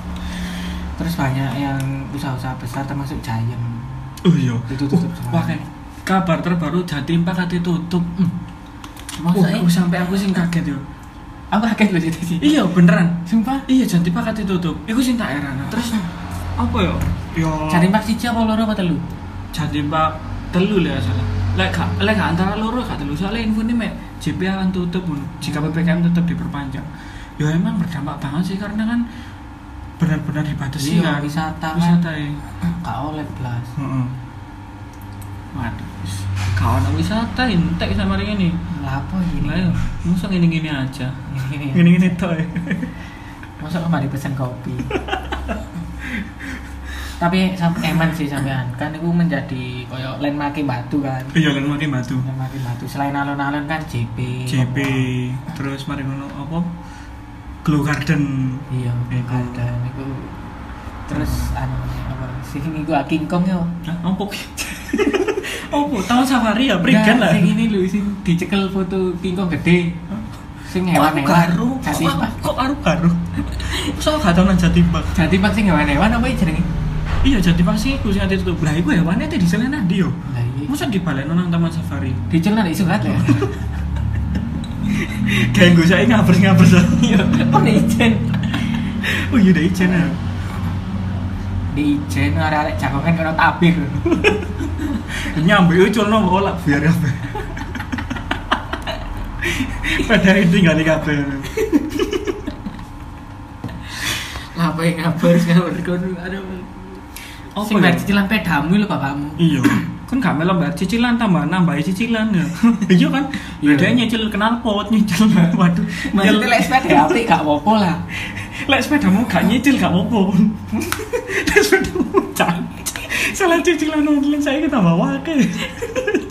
Speaker 2: terus banyak yang usaha-usaha besar termasuk Giant
Speaker 3: oh iya
Speaker 2: Itu tutup
Speaker 3: Oh,
Speaker 2: semua.
Speaker 3: wah kayak kabar terbaru Jatim Pak kate tutup
Speaker 2: Masa
Speaker 3: Wah, aku sampai aku sih kaget yo
Speaker 2: aku kaget loh jadi sih
Speaker 3: iya beneran
Speaker 2: sumpah
Speaker 3: iya Jatim Pak kate tutup Iku sih tak heran terus apa yo yo
Speaker 2: cari mak siji apa loro apa telu
Speaker 3: Jatim Pak telu lah salah lek gak- lek gak antara loro gak telu soalnya info ini mek JP akan tutup Bun. jika PPKM tetap diperpanjang ya emang berdampak banget sih karena kan benar-benar dibatasi
Speaker 2: Iya,
Speaker 3: kan
Speaker 2: wisata kan.
Speaker 3: wisata ya
Speaker 2: gak oleh belas
Speaker 3: Heeh. waduh wis. gak ada wisata entek sama hari ini
Speaker 2: lah apa
Speaker 3: lah ya
Speaker 2: ini
Speaker 3: musuh gini-gini aja
Speaker 2: Gini ya.
Speaker 3: gini-gini toh ya
Speaker 2: masa kemarin pesan kopi tapi sam- eman sih sampean kan itu menjadi koyo landmark batu kan
Speaker 3: iya kan makin batu
Speaker 2: landmark batu selain alun-alun kan JP
Speaker 3: JP terus mari ngono apa Glow Garden
Speaker 2: iya
Speaker 3: Iku.
Speaker 2: ada itu terus anu apa sih ini gua King Kong yo
Speaker 3: Hah, apa ki? apa tahun safari ya berikan lah
Speaker 2: Nah, sing ini lho sing dicekel foto King Kong gede sing hewan-hewan
Speaker 3: garu
Speaker 2: jadi
Speaker 3: kok kok aru garu so gak tau nang Jatimbang
Speaker 2: jadi pak sing hewan-hewan apa jenenge
Speaker 3: iya Jatimbang sih gue sing ati tutup lah iku hewane teh diselen nang ndi yo
Speaker 2: lah iya
Speaker 3: masa dibalekno nang taman safari
Speaker 2: dicel nang isu kan ya
Speaker 3: kayak gue saya ngabers ngabers
Speaker 2: iya oh nek ijen
Speaker 3: oh iya deh ijen ya
Speaker 2: di ijen arek-arek jagongan karo tabir
Speaker 3: nyambi yo oh, culno kok olak biar apa Padahal itu tinggal di kabel
Speaker 2: apa yang ngabar ngabar kono ada
Speaker 3: Apa
Speaker 2: sing
Speaker 3: ya?
Speaker 2: bayar cicilan pedamu lho bapakmu
Speaker 3: Iya Kan gak melok bayar cicilan tambah nambahi cicilan ya Iya kan
Speaker 2: Iya.
Speaker 3: Bedanya nyicil kenal pot nyicil Waduh
Speaker 2: maksudnya lek sepeda apik gak apa-apa lah
Speaker 3: Lek sepedamu gak nyicil gak apa-apa. Lek sepedamu cancuk. Salah cicilan online saya kita bawa ke.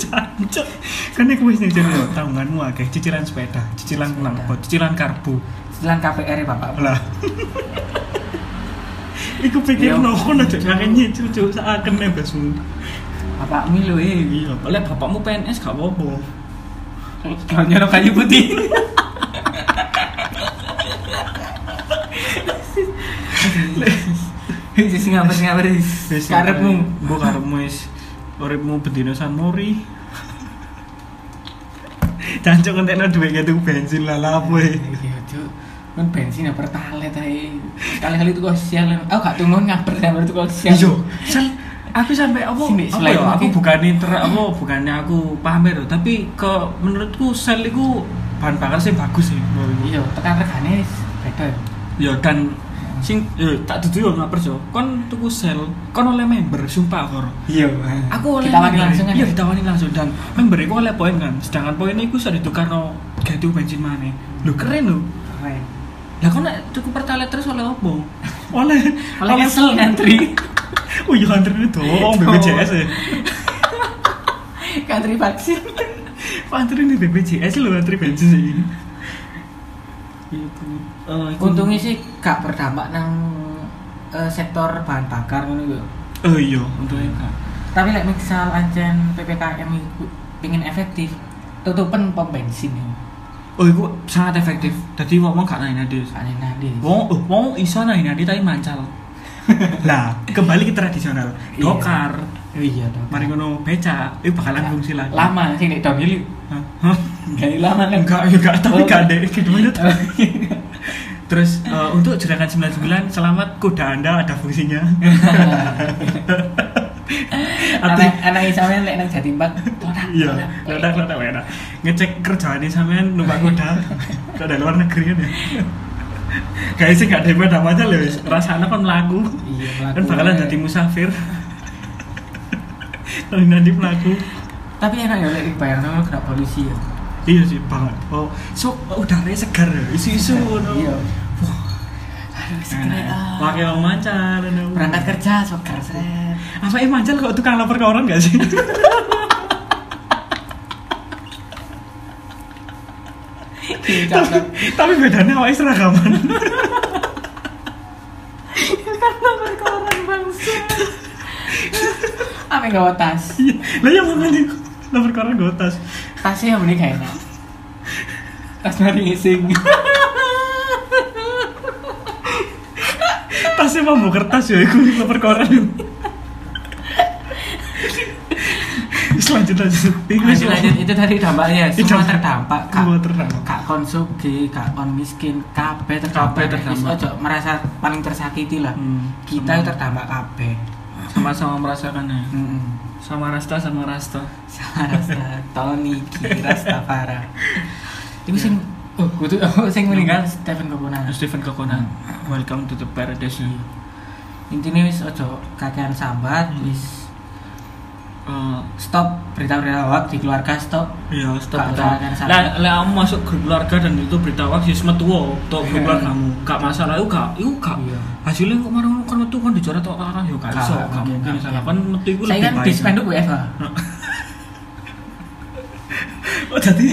Speaker 3: Cancuk. Kan iku wis nyicil yo tanggunganmu akeh cicilan sepeda, cicilan
Speaker 2: Sepeda.
Speaker 3: kenal pot, cicilan karbu.
Speaker 2: cicilan KPR ya bapakmu
Speaker 3: Lah. Iku pikir
Speaker 2: Iya.
Speaker 3: no kono cek akeh nyicil cuk saken nebasmu.
Speaker 2: bapakmu lho eh
Speaker 3: Iya, lek bapakmu PNS gak apa-apa.
Speaker 2: kalau nyolong kayu putih Hei, sing ngabar ngabar
Speaker 3: Wis,
Speaker 2: karepmu.
Speaker 3: mbok karepmu wis uripmu bendina San Mori. Cancuk entekno dhuwit tuku bensin lah lah apa e? ya.
Speaker 2: Iya, Cuk. Kan bensin ya pertalet ae. Kali-kali tuh kok sial. Aku gak tunggu ngabar ngabar tuh kok sial.
Speaker 3: Iya, sel aku sampai apa?
Speaker 2: Sini,
Speaker 3: apa
Speaker 2: selain
Speaker 3: ya? Aku
Speaker 2: mungkin.
Speaker 3: bukannya ter apa bukannya aku pamer loh, tapi ke menurutku sel itu bahan bakar sih bagus sih menurutku.
Speaker 2: Iya, tekan regane beda ya.
Speaker 3: Ya dan sing eh, tak dudu yo ngaper jo kon tuku sel kon oleh member sumpah kor
Speaker 2: iya
Speaker 3: aku oleh
Speaker 2: ditawani
Speaker 3: member.
Speaker 2: langsung kan
Speaker 3: iya
Speaker 2: ya?
Speaker 3: ditawani langsung dan member iku oleh poin kan sedangkan poin iku sudah ditukar no ganti bensin mana lu keren lu
Speaker 2: Keren.
Speaker 3: lah kok nek cukup pertalite terus oleh opo oleh
Speaker 2: Oleh kesel ngantri.
Speaker 3: oh iya ngantri itu dong BPJS ya
Speaker 2: Ngantri vaksin
Speaker 3: ngantri di BPJS lu ngantri bensin sih ini itu Eh, iku-
Speaker 2: untungnya sih gak berdampak nang eh, sektor bahan bakar ngono gitu
Speaker 3: oh iya untungnya enggak
Speaker 2: tapi like misal ancen PPKM iku pingin efektif tutupan pom bensin
Speaker 3: oh itu sangat efektif jadi ngomong gak naik nadi
Speaker 2: aneh nanti
Speaker 3: Wong, oh, wong iso naik nadi tapi mancal lah kembali ke tradisional
Speaker 2: Iya.
Speaker 3: dokar
Speaker 2: iya dong
Speaker 3: mari ngono beca itu bakalan fungsi lagi
Speaker 2: Iya. lama sih nek downhill
Speaker 3: Hah? Hah?
Speaker 2: gak lama kan
Speaker 3: enggak iya. enggak tapi
Speaker 2: Oh,
Speaker 3: enggak ada
Speaker 2: enggak.
Speaker 3: gimana tuh Terus eh, untuk juragan 99 selamat kuda Anda ada fungsinya. Iya. Atau
Speaker 2: anak anak sampean lek nang Jatim Park todak
Speaker 3: iya, ledak ledak enak. Ngecek kerjaannya sampean
Speaker 2: Iya.
Speaker 3: numpak kuda. Kuda dari luar negeri kan ya. Kayak sih gak ada beda aja loh, wis. rasanya kan lagu.
Speaker 2: Iya, melaku.
Speaker 3: Kan bakalan jadi musafir. Nanti nanti pelaku.
Speaker 2: tapi enak ya lek dibayar sama kena polisi ya
Speaker 3: Iya sih banget. Oh, so udaranya segar ya, isu-isu. no.
Speaker 2: iya
Speaker 3: Wah,
Speaker 2: aduh
Speaker 3: enak.
Speaker 2: sekali ah
Speaker 3: Pakai pemancar. no.
Speaker 2: berangkat kerja sokar seret
Speaker 3: apa eh mancal kok tukang lapor ke orang gak sih tapi,
Speaker 2: Diucapkan.
Speaker 3: tapi bedanya awalnya seragaman
Speaker 2: karena mereka orang bangsa Ame gak tas
Speaker 3: Iya. lah yang mana nih lapor ke orang gak tas
Speaker 2: Tasnya yang beli kayak enak Tas mari ngising
Speaker 3: tasnya mau bawa kertas ya aku lapor ke orang selanjutnya
Speaker 2: Lanjut
Speaker 3: lanjut
Speaker 2: lanjut itu tadi dampaknya Semua
Speaker 3: Dampak.
Speaker 2: terdampak Kak
Speaker 3: Semua terdampak.
Speaker 2: Kak kon sugih, Kak kon miskin Kabeh terdampak
Speaker 3: Kabeh terdampak.
Speaker 2: Wis Ojo merasa paling tersakiti lah
Speaker 3: Hmm,
Speaker 2: Kita
Speaker 3: semua.
Speaker 2: terdampak kabeh
Speaker 3: sama-sama merasakannya
Speaker 2: Mm-mm.
Speaker 3: sama Rasta sama Rasta
Speaker 2: Sama rasa Tony Ki Rastafara Itu sing Oh, kudu oh, sing meninggal Stephen Koponan.
Speaker 3: Stephen Kekonan welcome to the paradise
Speaker 2: Intinya wis ojo kakean sambat,
Speaker 3: Hmm.
Speaker 2: wis
Speaker 3: Eh,
Speaker 2: stop berita-berita hoax di keluarga stop
Speaker 3: Iya,
Speaker 2: Kak,
Speaker 3: stop
Speaker 2: jangan
Speaker 3: betul.
Speaker 2: sampai.
Speaker 3: Lah, lah kamu masuk grup keluarga dan itu berita hoax ya semetu wo, tok grup
Speaker 2: Iya.
Speaker 3: keluarga kamu. Gak masalah, itu gak, itu gak.
Speaker 2: Iya.
Speaker 3: Hasilnya kok marah kan metu kan dicoret tok orang ya gak
Speaker 2: Gak,
Speaker 3: iso,
Speaker 2: gak
Speaker 3: gak
Speaker 2: mungkin,
Speaker 3: mungkin
Speaker 2: gak
Speaker 3: salah kan
Speaker 2: mungkin.
Speaker 3: metu iku Nah.
Speaker 2: saya kan dispenduk WFH
Speaker 3: Oh, jadi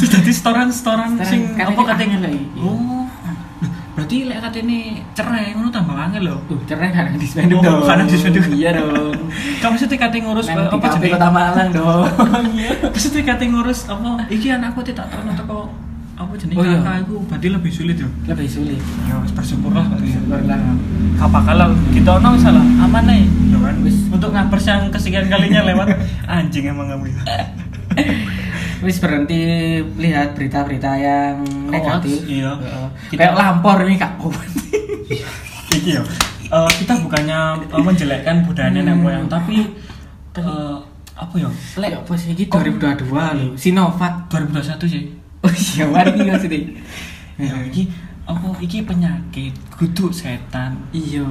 Speaker 3: terus jadi setoran-setoran
Speaker 2: Setoran,
Speaker 3: sing
Speaker 2: katanya
Speaker 3: apa katanya
Speaker 2: angel lagi. Iya.
Speaker 3: Oh. Berarti lek katene cerai ngono tambah angel lho.
Speaker 2: uh cerai kan yang dispenduk
Speaker 3: Oh,
Speaker 2: dong
Speaker 3: kan yang dispenduk.
Speaker 2: iya dong
Speaker 3: Kamu sih kate ngurus
Speaker 2: Nang
Speaker 3: eh,
Speaker 2: di
Speaker 3: apa
Speaker 2: kafe
Speaker 3: jenenge?
Speaker 2: kota Malang dong
Speaker 3: Terus itu kate ngurus apa iki anakku tidak tahu kok apa jenenge
Speaker 2: Oh, iya.
Speaker 3: kakak iku berarti lebih sulit ya.
Speaker 2: lebih sulit
Speaker 3: Ya wis bersyukurlah berarti.
Speaker 2: Syukurlah.
Speaker 3: Apa kalau kita ono salah aman nih. Ya kan wis untuk ngapers yang kesekian kalinya lewat anjing emang kamu ya.
Speaker 2: wis berhenti lihat berita-berita yang negatif
Speaker 3: iya.
Speaker 2: Heeh.
Speaker 3: Kita-
Speaker 2: kayak lampor ini kak Owen.
Speaker 3: Iki ya. Eh, kita bukannya eh, menjelekkan budaya nenek
Speaker 2: Hmm.
Speaker 3: moyang tapi eh, apa ya?
Speaker 2: lek apa sih ini 2022 lho Sinovac
Speaker 3: 2021 sih.
Speaker 2: oh iya mari ini maksudnya
Speaker 3: Ya iki apa iki penyakit kudu setan.
Speaker 2: iya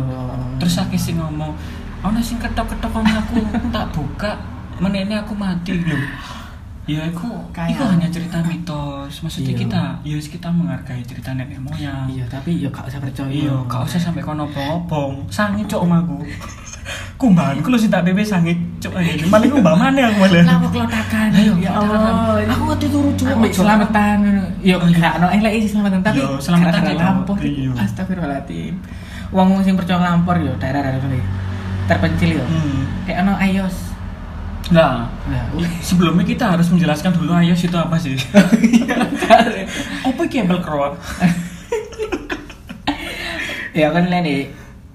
Speaker 3: Terus aku sih ngomong, ono sing ketok-ketok om aku tak buka, menene aku mati lho. Ya aku,
Speaker 2: Kayak-
Speaker 3: itu hanya cerita mitos. Maksudnya
Speaker 2: Iya.
Speaker 3: kita, ya wis kita menghargai cerita nenek moyang.
Speaker 2: iya tapi ya gak usah percaya
Speaker 3: Iya, gak usah sampai kono bobong. Sangi cok om aku. Kumbahan, kalau sih tak bebe sangi cok aja. Malah kumbah mana aku malah.
Speaker 2: Lawak lotakan.
Speaker 3: Ayo,
Speaker 2: ya
Speaker 3: ya
Speaker 2: Allah.
Speaker 3: Allah.
Speaker 2: Aku waktu itu lucu.
Speaker 3: Ambek
Speaker 2: selamatan. Yo enggak no eh lek isi selamatan tapi
Speaker 3: Yo, selamatan
Speaker 2: gara-gara
Speaker 3: gitu.
Speaker 2: lampor.
Speaker 3: Iya.
Speaker 2: Astagfirullahaladzim. Wong wong sing percaya lampor yo daerah-daerah ini terpencil yo.
Speaker 3: Hmm.
Speaker 2: Kayak ono ayos.
Speaker 3: Nah,
Speaker 2: Nah, wih.
Speaker 3: sebelumnya kita harus menjelaskan dulu ayos itu apa sih? apa kabel croak?
Speaker 2: ya kan lek nih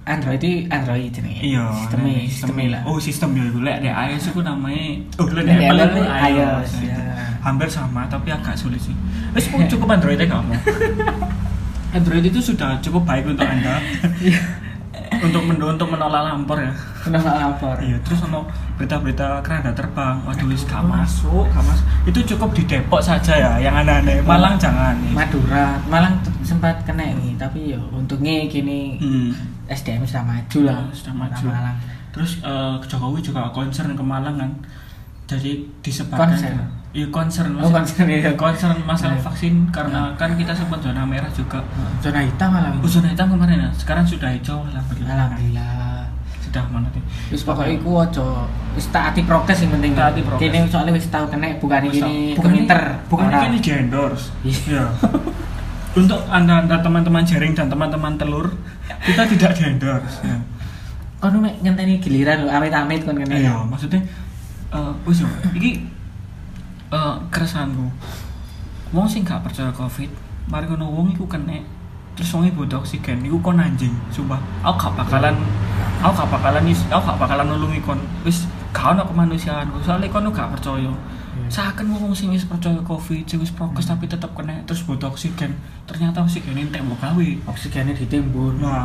Speaker 2: Android itu Android jenenge.
Speaker 3: Iya,
Speaker 2: Sistemnya,
Speaker 3: nek-
Speaker 2: sistemnya lah.
Speaker 3: Oh, sistem ya iku lek nek iOS iku namanya oh lek
Speaker 2: Nek
Speaker 3: nek Apple
Speaker 2: Apple
Speaker 3: iku
Speaker 2: nek
Speaker 3: iOS.
Speaker 2: iOS,
Speaker 3: ya.
Speaker 2: ya.
Speaker 3: Hampir sama tapi agak sulit sih. Wis pun cukup Android aja kamu. Android itu sudah cukup baik untuk Anda. untuk men untuk menolak lampor ya.
Speaker 2: Kenapa lampor?
Speaker 3: Iya, terus sama berita-berita keranda terbang waduh wis gak masuk gak masuk itu cukup di Depok saja ya yang aneh-aneh Malang jangan ya.
Speaker 2: Madura Malang t- sempat kena ini tapi ya untungnya gini
Speaker 3: Hmm. Iya,
Speaker 2: SDM sudah maju lah
Speaker 3: Sudah
Speaker 2: Kota
Speaker 3: maju.
Speaker 2: Malang
Speaker 3: terus eh, Jokowi juga concern ke Malang kan jadi disebarkan
Speaker 2: Concern?
Speaker 3: Iya concern
Speaker 2: Oh, concern, iya.
Speaker 3: concern masalah
Speaker 2: Iya.
Speaker 3: vaksin karena kan kita sempat zona merah juga
Speaker 2: zona hitam Malang
Speaker 3: Oh, zona hitam kemarin ya sekarang sudah hijau
Speaker 2: Iya,
Speaker 3: alhamdulillah
Speaker 2: Alhamdulillah
Speaker 3: sudah menurut
Speaker 2: Wis pokoknya iku ojo wis taati prokes yang penting.
Speaker 3: Taati prokes.
Speaker 2: Kene soalnya wis tau kena bukan ini
Speaker 3: bukan
Speaker 2: keminter,
Speaker 3: bukan
Speaker 2: ora.
Speaker 3: ini di endorse
Speaker 2: Iya.
Speaker 3: untuk anda anda teman-teman jaring dan teman-teman telur kita tidak di endorse ya.
Speaker 2: Kono mek ngenteni giliran lho amit-amit kon kene.
Speaker 3: iya maksudnya eh wis yo, iki eh keresahanku wong sing gak percaya covid mari ngono wong iku kena terus wong butuh oksigen iku kon anjing sumpah aku gak bakalan aku gak bakalan is aku gak bakalan nulungi kon wis gak ono kemanusiaan soalnya kon gak percaya Saken wong sing wis percaya covid, sing wis prokes tapi tetep kena terus butuh oksigen. Ternyata oksigen entek mbok gawe.
Speaker 2: Oksigennya ditimbun.
Speaker 3: Nah,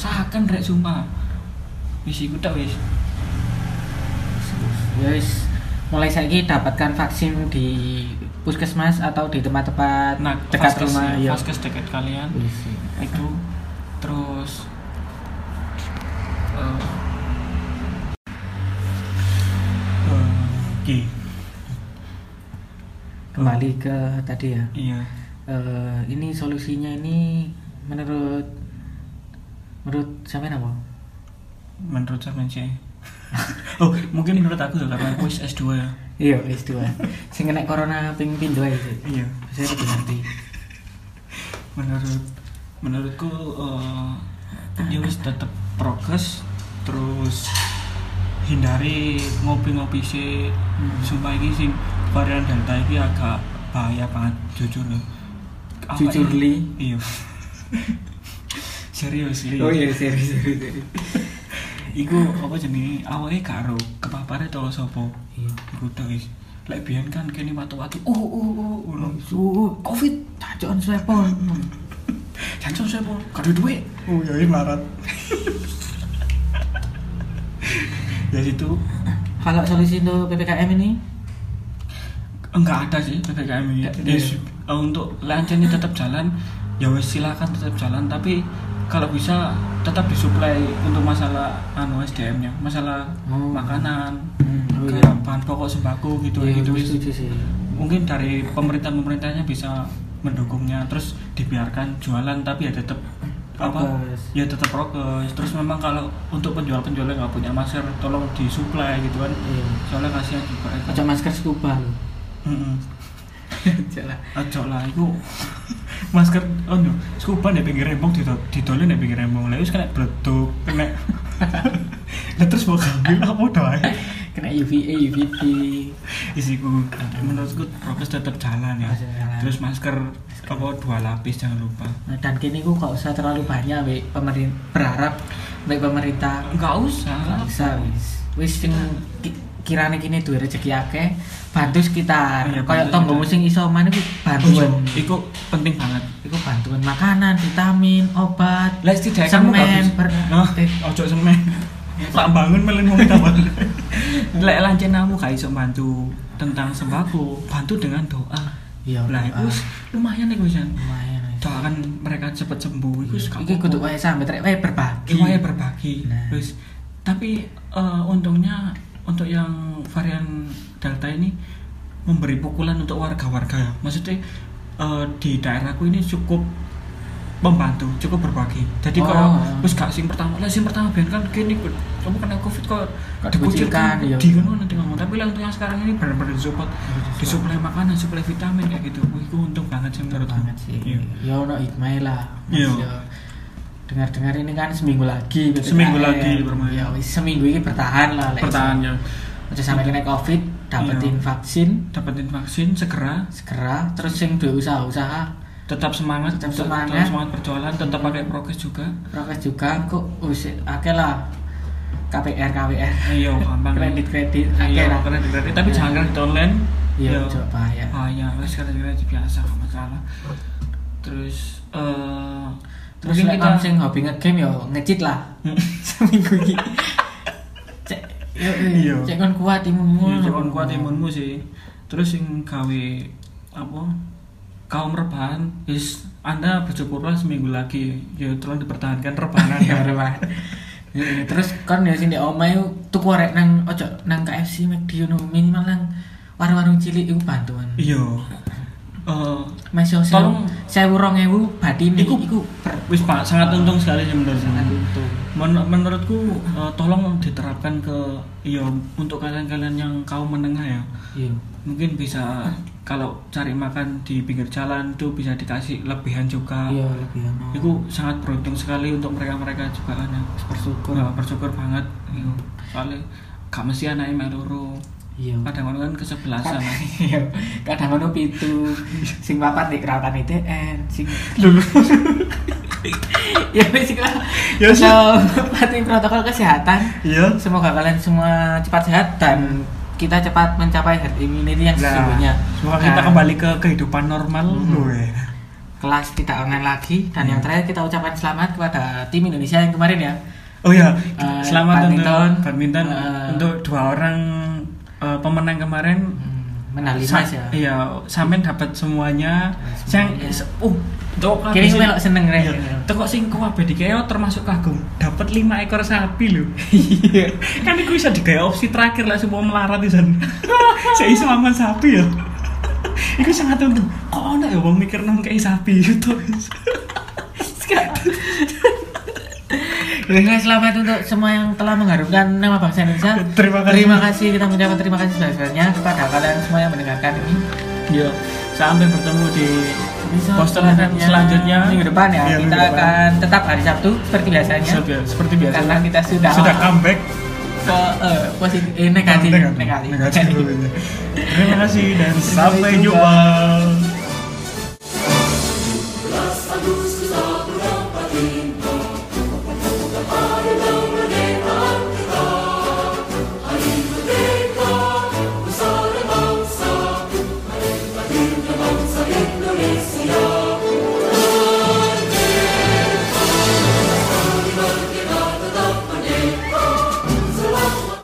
Speaker 3: saken rek sumpah. Wis iku tak wis.
Speaker 2: Ya wis mulai saiki dapatkan vaksin di puskesmas atau di tempat-tempat
Speaker 3: nah
Speaker 2: dekat
Speaker 3: vaskes-
Speaker 2: rumah Iya. ya.
Speaker 3: vaskes dekat kalian
Speaker 2: Wis.
Speaker 3: itu terus eh, eh, oke
Speaker 2: Kembali ke tadi ya.
Speaker 3: iya
Speaker 2: Eh, ini solusinya ini menurut menurut siapa nama?
Speaker 3: menurut saya sih oh mungkin menurut aku ya karena aku is S2 ya
Speaker 2: Iya, wis dua. Sing kena corona ping pindho ae. sih.
Speaker 3: iya
Speaker 2: Saya lebih ngerti.
Speaker 3: menurut menurutku eh, ya wis tetap progres terus hindari ngopi-ngopi sih
Speaker 2: Hmm.
Speaker 3: supaya ini sing varian delta ini agak bahaya banget jujur loh Apa
Speaker 2: Jujur,
Speaker 3: ini?
Speaker 2: Li.
Speaker 3: iya serius li
Speaker 2: Oh iya, serius, serius, serius.
Speaker 3: iku apa jenenge awalnya karo kepapare tau sopo
Speaker 2: Iya.
Speaker 3: iku tau wis lek biyen kan kene watu-watu uh uh uh ngono
Speaker 2: Suhu, covid, cacokan sepon.
Speaker 3: jancuk sopo kado duit oh ya marat ya situ
Speaker 2: Kalau solusi untuk PPKM ini,
Speaker 3: enggak ada sih ppkm ini
Speaker 2: Nggak ada
Speaker 3: Jadi,
Speaker 2: ya?
Speaker 3: eh, untuk lancarnya tetap jalan ya wes silakan tetap jalan tapi kalau bisa tetap disuplai untuk masalah anu SDM nya masalah
Speaker 2: Oh.
Speaker 3: makanan
Speaker 2: Hmm, oh iya.
Speaker 3: kayak bahan pokok sembako gitu
Speaker 2: ya,
Speaker 3: gitu
Speaker 2: gue
Speaker 3: wis.
Speaker 2: setuju sih.
Speaker 3: mungkin dari pemerintah pemerintahnya bisa mendukungnya terus dibiarkan jualan tapi ya tetap apa
Speaker 2: Prokes.
Speaker 3: ya tetap prokes terus memang kalau untuk penjual-penjual yang nggak punya masker tolong disuplai gitu kan
Speaker 2: Iya.
Speaker 3: soalnya kasihan juga Hmm. ya kan.
Speaker 2: Pakai masker scuba lo.
Speaker 3: Mm-mm.
Speaker 2: Jalan.
Speaker 3: Ojo lah iku masker oh no scuba di pinggir rembong didol- didolin di pinggir rembong lah wis kena bleduk kena lah terus mau ngambil apa doang
Speaker 2: Kena eh, UVA, UVB.
Speaker 3: isiku menurutku prokes tetap jalan ya
Speaker 2: Masih jalan.
Speaker 3: terus masker apa dua lapis jangan lupa
Speaker 2: Nah, dan kini gue gak usah terlalu banyak wek pemerintah berharap baik pemerintah
Speaker 3: nggak usah
Speaker 2: Gak bisa wis wis sing ki- kirane kini duwe rezeki akeh bantu sekitar
Speaker 3: Iya,
Speaker 2: kayak
Speaker 3: bantu
Speaker 2: tonggomu
Speaker 3: sekitar. Iya.
Speaker 2: sing isoman iku
Speaker 3: Ojo,
Speaker 2: bantuan
Speaker 3: itu penting banget
Speaker 2: Iku bantuan makanan, vitamin, obat,
Speaker 3: lah setidaknya kamu nggak
Speaker 2: semen,
Speaker 3: bisa
Speaker 2: per
Speaker 3: Nah, ojo semen tak bangun melen mau minta bantu lek lancen kamu gak iso bantu tentang sembako bantu dengan doa
Speaker 2: Iya,
Speaker 3: lah
Speaker 2: doa.
Speaker 3: itu lumayan nih kusan
Speaker 2: lumayan. wis.
Speaker 3: doakan mereka cepet sembuh itu gak
Speaker 2: Iki
Speaker 3: apa-apa.
Speaker 2: kudu wae sampe trek wae berbagi.
Speaker 3: Iya, berbagi.
Speaker 2: Nah.
Speaker 3: Terus tapi eh, untungnya untuk yang varian Delta ini memberi pukulan untuk warga-warga ya. Maksudnya eh, di daerahku ini cukup membantu, cukup berbagi. Jadi
Speaker 2: Oh.
Speaker 3: kalau wis gak sing pertama, lah sing pertama biar kan gini kamu kena covid kok
Speaker 2: Kok dikucilkan,
Speaker 3: dikucilkan,
Speaker 2: iya.
Speaker 3: di ngono nanti ngomong. Tapi lah untuk yang sekarang ini benar-benar support, disuplai makanan, disuplai vitamin kayak gitu. Wih, itu untung banget sih Iya. menurut
Speaker 2: banget sih. Ya ono hikmah lah.
Speaker 3: Iya.
Speaker 2: Mas, ya. Dengar-dengar ini kan seminggu lagi PPKM.
Speaker 3: Seminggu lagi bermain.
Speaker 2: Ya wis seminggu ini bertahan lah. lek.
Speaker 3: Pertahannya
Speaker 2: Aja sampe kena Covid, dapetin
Speaker 3: Iya.
Speaker 2: vaksin
Speaker 3: dapetin vaksin segera
Speaker 2: segera terus sing duwe usaha-usaha
Speaker 3: tetap semangat
Speaker 2: Tetap
Speaker 3: untuk-
Speaker 2: semangat.
Speaker 3: tetap semangat berjualan tetap pakai prokes juga
Speaker 2: prokes juga kok wis akeh lah KPR KWR
Speaker 3: iya gampang
Speaker 2: kredit kredit akeh
Speaker 3: iya
Speaker 2: lah
Speaker 3: kredit kredit tapi jangan kredit online
Speaker 2: Iya, coba bahaya.
Speaker 3: ah iya wes kredit kredit biasa nggak masalah terus eh
Speaker 2: Terus
Speaker 3: mungkin Hmm.
Speaker 2: lek kita... sing hobi ngegame yo ngecit lah seminggu ini. Cek Yo,
Speaker 3: Iya.
Speaker 2: Cek kon kuat imunmu.
Speaker 3: Ya, jangan
Speaker 2: iya.
Speaker 3: kuat imunmu sih. Terus yang gawe apa kaum rebahan, is Anda bersyukurlah seminggu lagi. Ya tolong dipertahankan rebahan
Speaker 2: Ya,
Speaker 3: Anda.
Speaker 2: Pak. Iya, Terus kon ya sini omae tuku arek nang ojo nang KFC McD ngono minimal nang warung-warung cilik iku bantuan.
Speaker 3: Iya. Eh,
Speaker 2: Masih
Speaker 3: Tolong.
Speaker 2: sewu sewu rong ewu batine
Speaker 3: Iku-
Speaker 2: iku per
Speaker 3: wis pak sangat untung sekali sih menurut saya.
Speaker 2: itu.
Speaker 3: Men- menurutku eh, tolong diterapkan ke iya untuk kalian-kalian yang kaum menengah ya.
Speaker 2: Iya.
Speaker 3: Mungkin bisa kalau cari makan di pinggir jalan tuh bisa dikasih lebihan juga.
Speaker 2: Iya lebih ono.
Speaker 3: Itu sangat beruntung sekali untuk mereka-mereka juga kan yang
Speaker 2: bersyukur.
Speaker 3: Nah, bersyukur banget Iyo. soalnya gak mesti anaknya meluru
Speaker 2: Iya.
Speaker 3: kadang orang kan kesebelasan
Speaker 2: Iya. Kadang ono pitu sing papat di keratan ITN, sing
Speaker 3: dulu
Speaker 2: ya wis iku lah.
Speaker 3: Ya, wis.
Speaker 2: Ono pati protokol kesehatan.
Speaker 3: iya
Speaker 2: Semoga kalian semua cepat sehat dan kita cepat mencapai herd immunity yang
Speaker 3: nah,
Speaker 2: sesungguhnya.
Speaker 3: semoga
Speaker 2: Dan
Speaker 3: kita kembali ke kehidupan normal ya. Weh.
Speaker 2: kelas tidak online lagi dan yang terakhir kita ucapkan selamat kepada tim Indonesia yang kemarin ya.
Speaker 3: oh ya
Speaker 2: Eh,
Speaker 3: selamat
Speaker 2: badminton.
Speaker 3: untuk badminton
Speaker 2: Eh.
Speaker 3: untuk dua orang eh, pemenang kemarin
Speaker 2: Hmm, Medali
Speaker 3: Sa-
Speaker 2: emas ya.
Speaker 3: iya Samin dapat semuanya yang
Speaker 2: Semuanya.
Speaker 3: uh Tok
Speaker 2: Kira melok seneng rek.
Speaker 3: Tekok Iya. sing kuwabe dikeo termasuk kagum dapat 5 ekor sapi lho.
Speaker 2: Iya.
Speaker 3: kan itu bisa digaya opsi terakhir lah semua melarat di sana saya iso aman sapi ya itu sangat untung kok ada ya bang mikir nang kayak sapi itu
Speaker 2: Ya, selamat untuk semua yang telah mengharumkan nama bangsa Indonesia.
Speaker 3: Terima kasih.
Speaker 2: Terima kasih kita mengucapkan terima kasih sebesar-besarnya kepada kalian semua yang mendengarkan ini. Iya.
Speaker 3: ya sampai bertemu di
Speaker 2: Bisa
Speaker 3: Postal akan selanjutnya.
Speaker 2: minggu depan ya.
Speaker 3: Iya,
Speaker 2: kita
Speaker 3: minggu depan.
Speaker 2: akan tetap hari Sabtu seperti biasanya.
Speaker 3: Seperti- seperti biasa
Speaker 2: Karena kita sudah
Speaker 3: sudah comeback
Speaker 2: ke eh, positif eh, negatif
Speaker 3: Negatif.
Speaker 2: negatif.
Speaker 3: Negatif. terima kasih dan sampai
Speaker 2: jumpa.
Speaker 3: jumpa